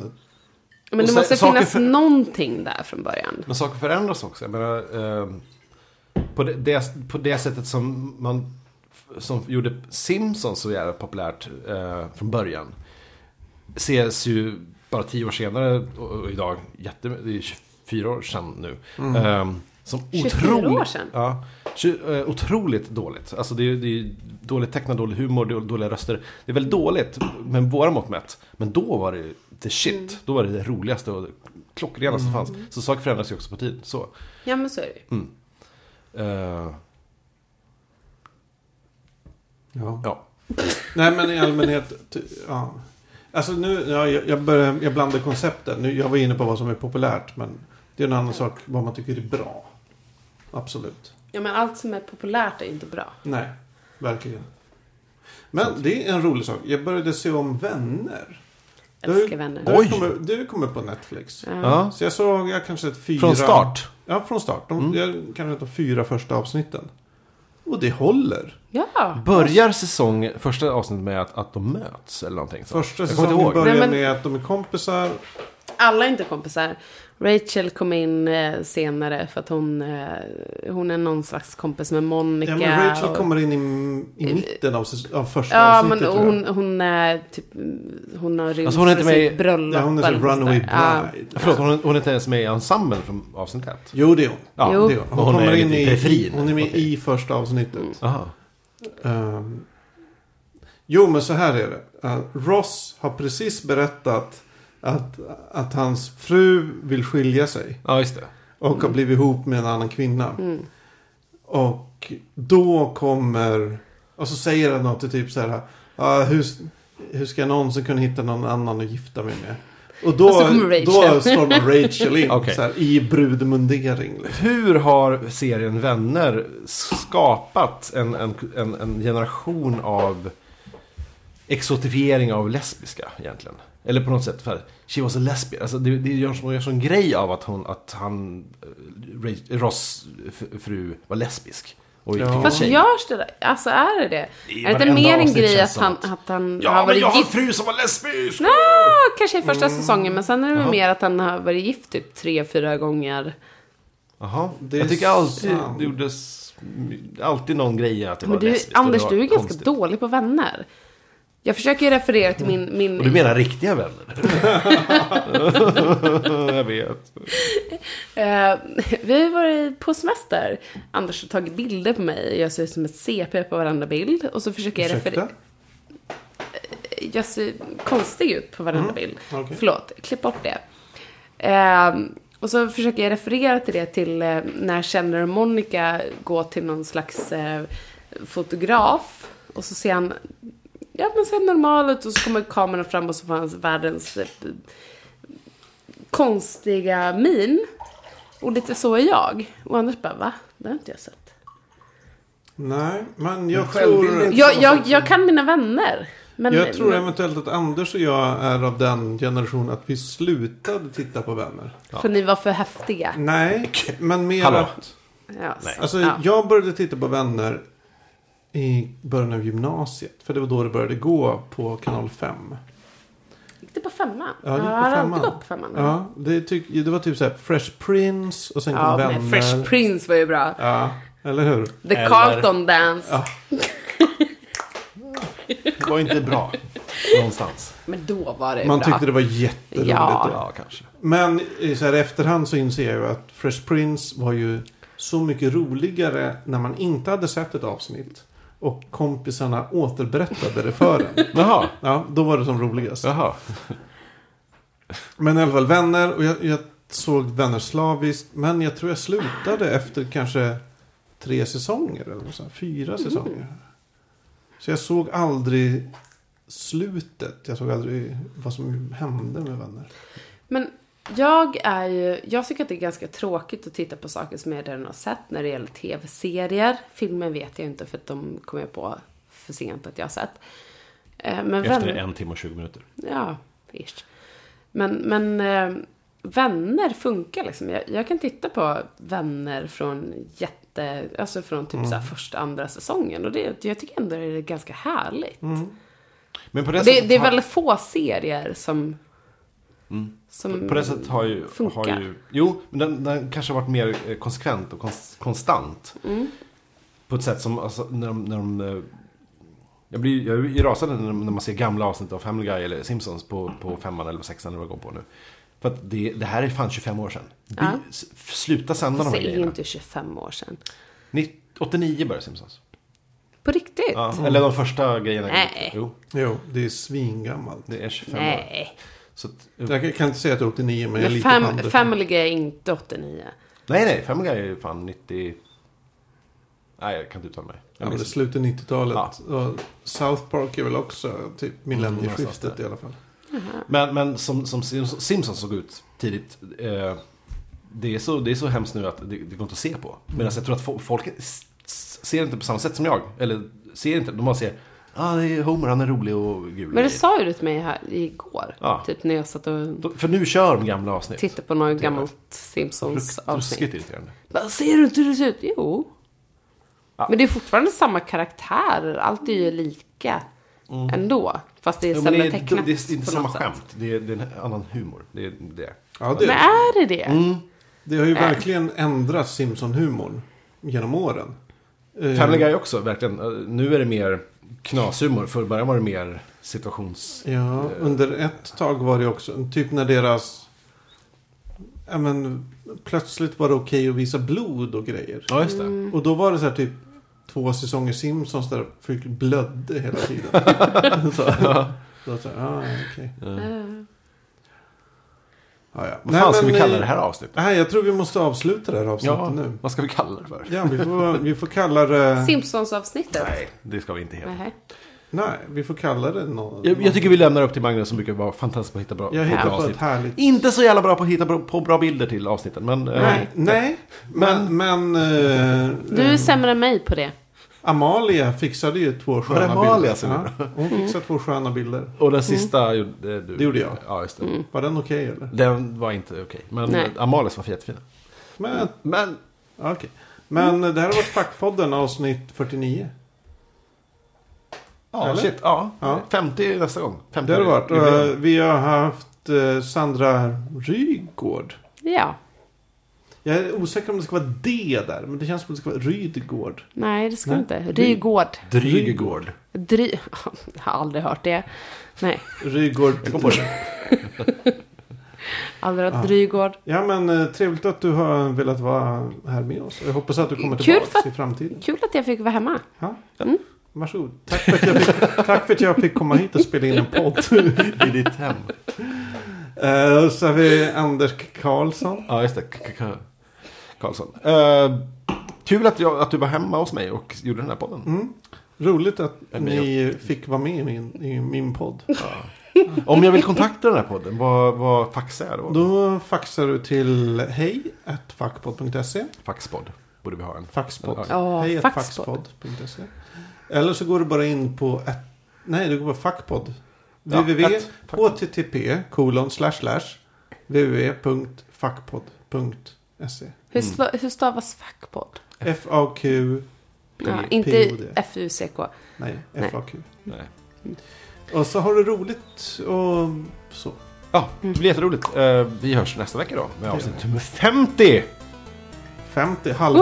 S3: Men
S2: och
S3: det
S2: sen-
S3: måste
S2: saker
S3: finnas
S2: för-
S3: någonting där från början.
S2: Men saker förändras också. Jag menar, ehm, på, det, det, på det sättet som man som gjorde Simpsons så jävla populärt eh, från början. Ses ju bara tio år senare och, och idag, jätte, det är 24 år sedan nu. ehm, som
S3: 24 Mm. år
S2: otroligt-
S3: sedan?
S2: Ja, tju- eh, otroligt dåligt. Alltså det är, det är dåligt tecknat, dålig humor, då- dåliga röster. Det är väldigt dåligt med våra mått mätt. Men då var det the shit.
S3: Mm.
S2: Då var det det roligaste och klockrenaste som fanns. Så saker förändras ju också på tiden. Så.
S3: Ja men så är det ju.
S2: Eh,
S1: Ja.
S2: ja.
S1: Nej, men i allmänhet... ty- Ja. Alltså nu, ja, jag, jag, börjar, jag blandar koncepten. Nu, jag var inne på vad som är populärt, men det är en annan sak vad man tycker är bra. Absolut.
S3: Ja men allt som är populärt är ju inte bra.
S1: Nej, verkligen. Men det är en rolig sak. Jag började se om Vänner. Mm.
S3: Älskar vänner.
S1: Du,
S2: Oj.
S1: kommer, du kommer på Netflix.
S2: Ja.
S1: Så jag såg jag kanske ett fyra...
S2: Från start.
S1: Ja, från start. De,
S2: Mm.
S1: Jag kanske de fyra första avsnitten. Och det håller.
S3: Ja.
S2: Börjar säsong, första avsnittet med att, att de möts eller någonting. Så.
S1: Första
S2: Jag kommer inte
S1: säsongen
S2: ihåg.
S1: börjar
S3: Nej, men-
S1: med att de är kompisar.
S3: Alla är inte kompisar. Rachel kom in eh, senare för att hon, eh, hon är någon slags kompis med Monica.
S1: Ja, men Rachel
S3: och,
S1: kommer in i, i mitten av, säs- av första
S3: Ja, men
S1: avsnittet. tror jag.
S3: hon, hon är typ, hon har rymt
S2: Alltså, hon är inte
S3: för
S2: med i-
S3: sitt bröllop.
S1: ja, hon är så
S3: eller något
S1: runaway
S3: sånt där. Ja.
S1: bride.
S2: Förlåt, hon, hon är inte ens med i ensemblen från avsnitt ett.
S1: Jo, det är hon.
S2: Ja,
S3: Jo.
S1: Det är hon.
S2: Men
S1: Hon,
S2: hon är
S1: kommer in
S2: lite
S1: i...
S2: i periferin.
S1: Hon är med
S2: Okej. Mm.
S1: i första avsnittet.
S2: Aha.
S1: Ehm, jo, men så här är det. Eh, Ross har precis berättat att, att hans fru vill skilja sig.
S2: Ja, just det.
S1: Och har blivit ihop med en annan kvinna.
S3: Mm.
S1: Och då kommer... Och så säger han något typ så här. "Ah, hur, hur ska jag någonsin kunna hitta någon annan att gifta mig med? Och då,
S3: Och så kommer Rachel.
S1: då stormar Rachel in
S2: Okej.
S1: så här, i brudmundering. Liksom.
S2: Hur har serien Vänner skapat en, en, en, en generation av exotifiering av lesbiska egentligen? Eller på något sätt, för she was a lesbian. Alltså det, det görs gör sån grej av att, hon, att han, eh, Ra- Ross f- fru var lesbisk. Och gick
S1: Ja.
S2: till en
S3: Fast
S2: tjej.
S3: görs det där? Alltså är det
S2: I
S3: det? Är det inte
S2: varenda
S3: mer en
S2: avsnitt
S3: grej
S2: känns
S3: att
S2: som
S3: han,
S2: att-
S3: att han
S2: Ja, men jag
S3: har varit
S2: har Mm. en
S3: gift?
S2: fru som var lesbisk!
S3: Ah, kanske i första säsongen, men sen är det väl mer att han har varit gift typ tre, fyra gånger.
S2: Jaha,
S1: Det är
S2: jag tycker alltid
S1: sant.
S2: det gjordes alltid någon grej att det
S3: Men
S2: var
S3: du,
S2: lesbiskt och
S3: Anders,
S2: det var
S3: du är ganska
S2: konstigt.
S3: dålig på vänner. Jag försöker ju referera till min... min
S2: Och du menar riktiga vänner? jag vet.
S3: Eh, vi har varit på semester. Anders har tagit bilder på mig. Jag ser ut som ett CP på varenda bild. Och så försöker jag
S1: Ursäkta?
S3: referera... Jag ser konstig ut på varenda bild.
S1: Mm. okej.
S3: Förlåt, klipp bort det. Eh, och så försöker jag referera till det till eh, när Chandler och Monica går till någon slags eh, fotograf. Och så ser han, ja men ser normal ut och så kommer kameran fram och så får han världens eh, konstiga min. Och lite så är jag. Och Anders bara, va? Det har inte jag sett.
S1: Nej, men jag
S2: självbild är
S1: tror...
S2: inte
S3: Jag, jag, jag kan mina vänner. Men,
S1: Jag tror
S3: men,
S1: eventuellt att Anders och jag är av den generation att vi slutade titta på vänner.
S3: För ni var för häftiga.
S1: Nej, men mer
S2: Hallå.
S1: att...
S3: Ja, så-
S1: Alltså,
S3: ja.
S1: jag började titta på vänner
S3: Mm.
S1: i början av gymnasiet. För det var då det började gå på kanal 5.
S3: Gick det på femman?
S1: Ja, det gick på
S3: jag har
S1: femman.
S3: alltid gått på femman.
S1: Ja, det, tyck, det var typ så här Fresh Prince och sen kom
S3: Ja,
S1: Vänner.
S3: men Fresh Prince var ju bra.
S1: Ja, eller hur?
S3: The
S2: Eller-
S3: Carlton Dance.
S1: Ja. Det var inte bra.
S2: Någonstans.
S3: Men då var det
S1: Man
S3: bra.
S1: tyckte det var jätteroligt.
S3: Ja.
S2: Ja, kanske.
S1: Men i så här efterhand så inser jag ju att Fresh Prince var ju så mycket roligare när man inte hade sett ett avsnitt. Och kompisarna återberättade det för en.
S4: Jaha,
S1: Ja, då var det som roligast.
S4: jaha.
S1: Men i alla fall vänner. Och jag, jag såg vänner slaviskt. Men jag tror jag slutade efter kanske tre säsonger. Eller något sånt, här, fyra säsonger. Så jag såg aldrig slutet. Jag såg aldrig vad som hände med vänner.
S3: Men jag är ju, jag tycker att det är ganska tråkigt att titta på saker som jag redan har sett när det gäller tv-serier. Filmer vet jag inte för att de kommer jag på för sent att jag har sett. Eh, Men
S4: Efter
S3: vänner-
S4: en timme och 20 minuter.
S3: Ja, ish. Men, men eh, vänner funkar liksom. Jag, jag kan titta på vänner från jätte, alltså från typ så här första, andra säsongen. Och det, jag tycker ändå det är ganska härligt.
S4: Men på det,
S3: Det,
S4: sättet
S3: det är
S4: har-
S3: väldigt få serier som, som
S4: På det sättet har ju...
S3: funkar.
S4: Har ju
S2: Jo, men den, den kanske har varit mer eh, konsekvent och kons- konstant.
S3: Mm.
S2: På ett sätt som, alltså, när de... När de eh, jag blir jag blir rasande när, när man ser gamla avsnitt av Family Guy eller Simpsons på, på femman eller sexan eller vad det går på nu. För att det, det här är fan 25 år sedan. Bi,
S3: Ja.
S2: s- Sluta sända de
S3: Fast
S2: här
S3: det är ju
S2: grejerna.
S3: inte 25 år sedan.
S2: Nitt- 89 började Simpsons.
S3: På riktigt?
S2: Ja, Eller de första grejerna.
S3: Nej.
S2: Jo,
S1: Jo, det är svingammalt.
S2: det är 25 år.
S3: Nej.
S2: Så att,
S1: Jag kan inte säga att det är 89 men, jag är
S3: Men
S1: lite på
S3: fam,
S1: andra sidan.
S3: Family Guy är inte 89.
S2: nej, nej, Family Guy är ju fan 90... Nej, jag kan inte uttala mig. Jag
S1: Ja, men det
S2: minns-
S1: slutar 90-talet.
S2: Ja.
S1: Och South Park är väl också typ
S2: någonstans
S1: millennieskiftet
S2: där.
S1: i alla fall.
S2: Men, men som, som Simpsons Simpsons såg ut tidigt. Eh, det, är så, det är så hemskt nu att det, det går inte att se på. Medan jag tror att fo- folk s- s- ser inte på samma sätt som jag. Eller ser inte. De bara ser. ah, det är Homer, han är rolig och gul.
S3: Men det sa ju du till mig här igår.
S2: Ja.
S3: Typ när jag satt och
S2: De- För nu kör de gamla avsnitt.
S3: tittade på något gammalt Simpsons
S2: Frukt- Ruskigt
S3: avsnitt.
S2: irriterande.
S3: Bara, ser du inte hur det ser ut? Jo.
S2: Ja.
S3: Men det är fortfarande samma karaktärer. Allt är ju lika ändå. Fast det är
S2: Mm. Jo, men
S3: sämre
S2: det, är,
S3: tecknat
S2: det är inte
S3: på
S2: samma
S3: något sätt.
S2: skämt. Det är, det är en annan humor. Det är det.
S1: Ja, det,
S3: Men är det det?
S2: Mm.
S1: det har ju verkligen ändrat Simpson-humorn genom åren. Eh,
S2: Family Guy också, verkligen. Eh, Nu är det mer knashumor. Förr i början var det mer situations...
S1: Ja, under ett tag var det också typ när deras... Ja, men plötsligt var det okej att visa blod och grejer.
S2: Ja, just det.
S1: Och då var det så här typ två säsonger Simpsons där folk blödde hela tiden. så, då så här, ah, okej.
S3: Eh,
S1: ja, ja.
S2: Vad fan ska
S1: men,
S2: vi kalla
S1: eh,
S2: det här avsnittet?
S1: Nej, jag tror vi måste avsluta det här avsnittet
S2: Ja,
S1: nu.
S2: vad ska vi kalla det för?
S1: Ja, vi får, vi får kalla det...
S3: Eh, Simpsons-avsnittet?
S2: Nej, det ska vi inte heta.
S3: Nähä.
S1: Nej, vi får kalla det något.
S2: Jag, jag tycker vi lämnar upp till Magnus som brukar vara fantastisk på att hitta bra,
S1: Jag
S2: på
S1: hittar
S2: bra
S1: på ett
S2: avsnitt.
S1: härligt...
S2: Inte så jävla bra på att hitta bra, på bra bilder till avsnitten, men... eh,
S1: Nej, nej, men... men eh,
S3: Du är
S1: eh,
S3: sämre än mig på det.
S1: Amalia fixade ju två sköna bilder.
S2: Amalia som
S1: ja, Hon
S3: Mm.
S1: fixade två sköna bilder.
S2: Och den sista gjorde eh, du.
S1: Det gjorde jag.
S2: Ja, just det.
S1: Var den okej eller?
S2: Den var inte okej, men
S3: Nej.
S2: Nej. Amalias var jättefina.
S1: Men,
S2: Men
S1: ja, okej. Men eh, det här har varit Fackpodden avsnitt 49.
S2: ja,
S1: Eller?
S2: shit, ja.
S1: Ja.
S2: 50 nästa gång. 50
S1: Det har det varit.
S2: jubileum.
S1: Eh, Vi har haft eh, Sandra Rygård.
S3: Ja.
S1: Jag är osäker om det ska vara D där, men det känns som att det ska vara Rydgård.
S3: Nej, det ska
S1: Nej.
S3: du inte. Rygård.
S1: Eh,
S2: Drygegård.
S3: Dry... Jag har aldrig hört det. Nej,
S1: Rygård.
S2: Jag kom på det.
S3: aldrig hört Drygård.
S1: Ja men eh, trevligt att du har velat vara här med oss. Jag hoppas att du kommer
S3: Kul
S1: tillbaka
S3: för-
S1: i framtiden.
S3: Kul att jag fick vara hemma.
S1: Ja. Mm. Varsågod. Tack för, att jag fick, tack för att jag fick komma hit och spela in en podd.
S2: I ditt hem.
S1: Eh, Och så har vi Anders Karlsson.
S2: Ja, just det. K- K- K- Karlsson. Eh, kul att, jag, att du var hemma hos mig och gjorde den här podden.
S1: Roligt att
S2: Ja, men
S1: ni fick vara med i min, i min podd.
S2: Om jag vill kontakta den här podden, vad, vad faxar jag då?
S1: Då faxar du till hej at fackpodd.se.
S2: Faxpodd borde vi ha en.
S1: Faxpodd.
S3: Ja,
S1: hej at
S3: faxpodd.
S1: faxpodd.se. Eller så går du bara in på ett, nej du går på fackpodd.
S2: Ja,
S1: www
S2: ett
S1: http kolon slash slash www.fackpodd.se
S3: Hur,
S2: Mm.
S3: sla- hur stavas fackpodd?
S1: FAQ
S3: Ja,
S1: P-
S3: inte
S1: POD.
S3: F-U-C-K.
S1: Nej,
S3: Nej.
S1: FAQ.
S2: Nej.
S1: Mm. Och så har du roligt och så.
S2: Ja, det blir jätteroligt. Eh, Vi hörs nästa vecka då med avsnitt nummer 50!
S1: 50, halv...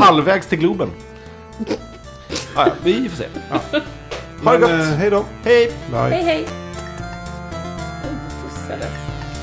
S2: Halvvägs till Globen. Ah, ja, vi får se. Ja. Ha det
S1: Men,
S2: gott!
S1: eh, hej då.
S2: Hej!
S1: Bye.
S3: Hej hej! Oj, pussades.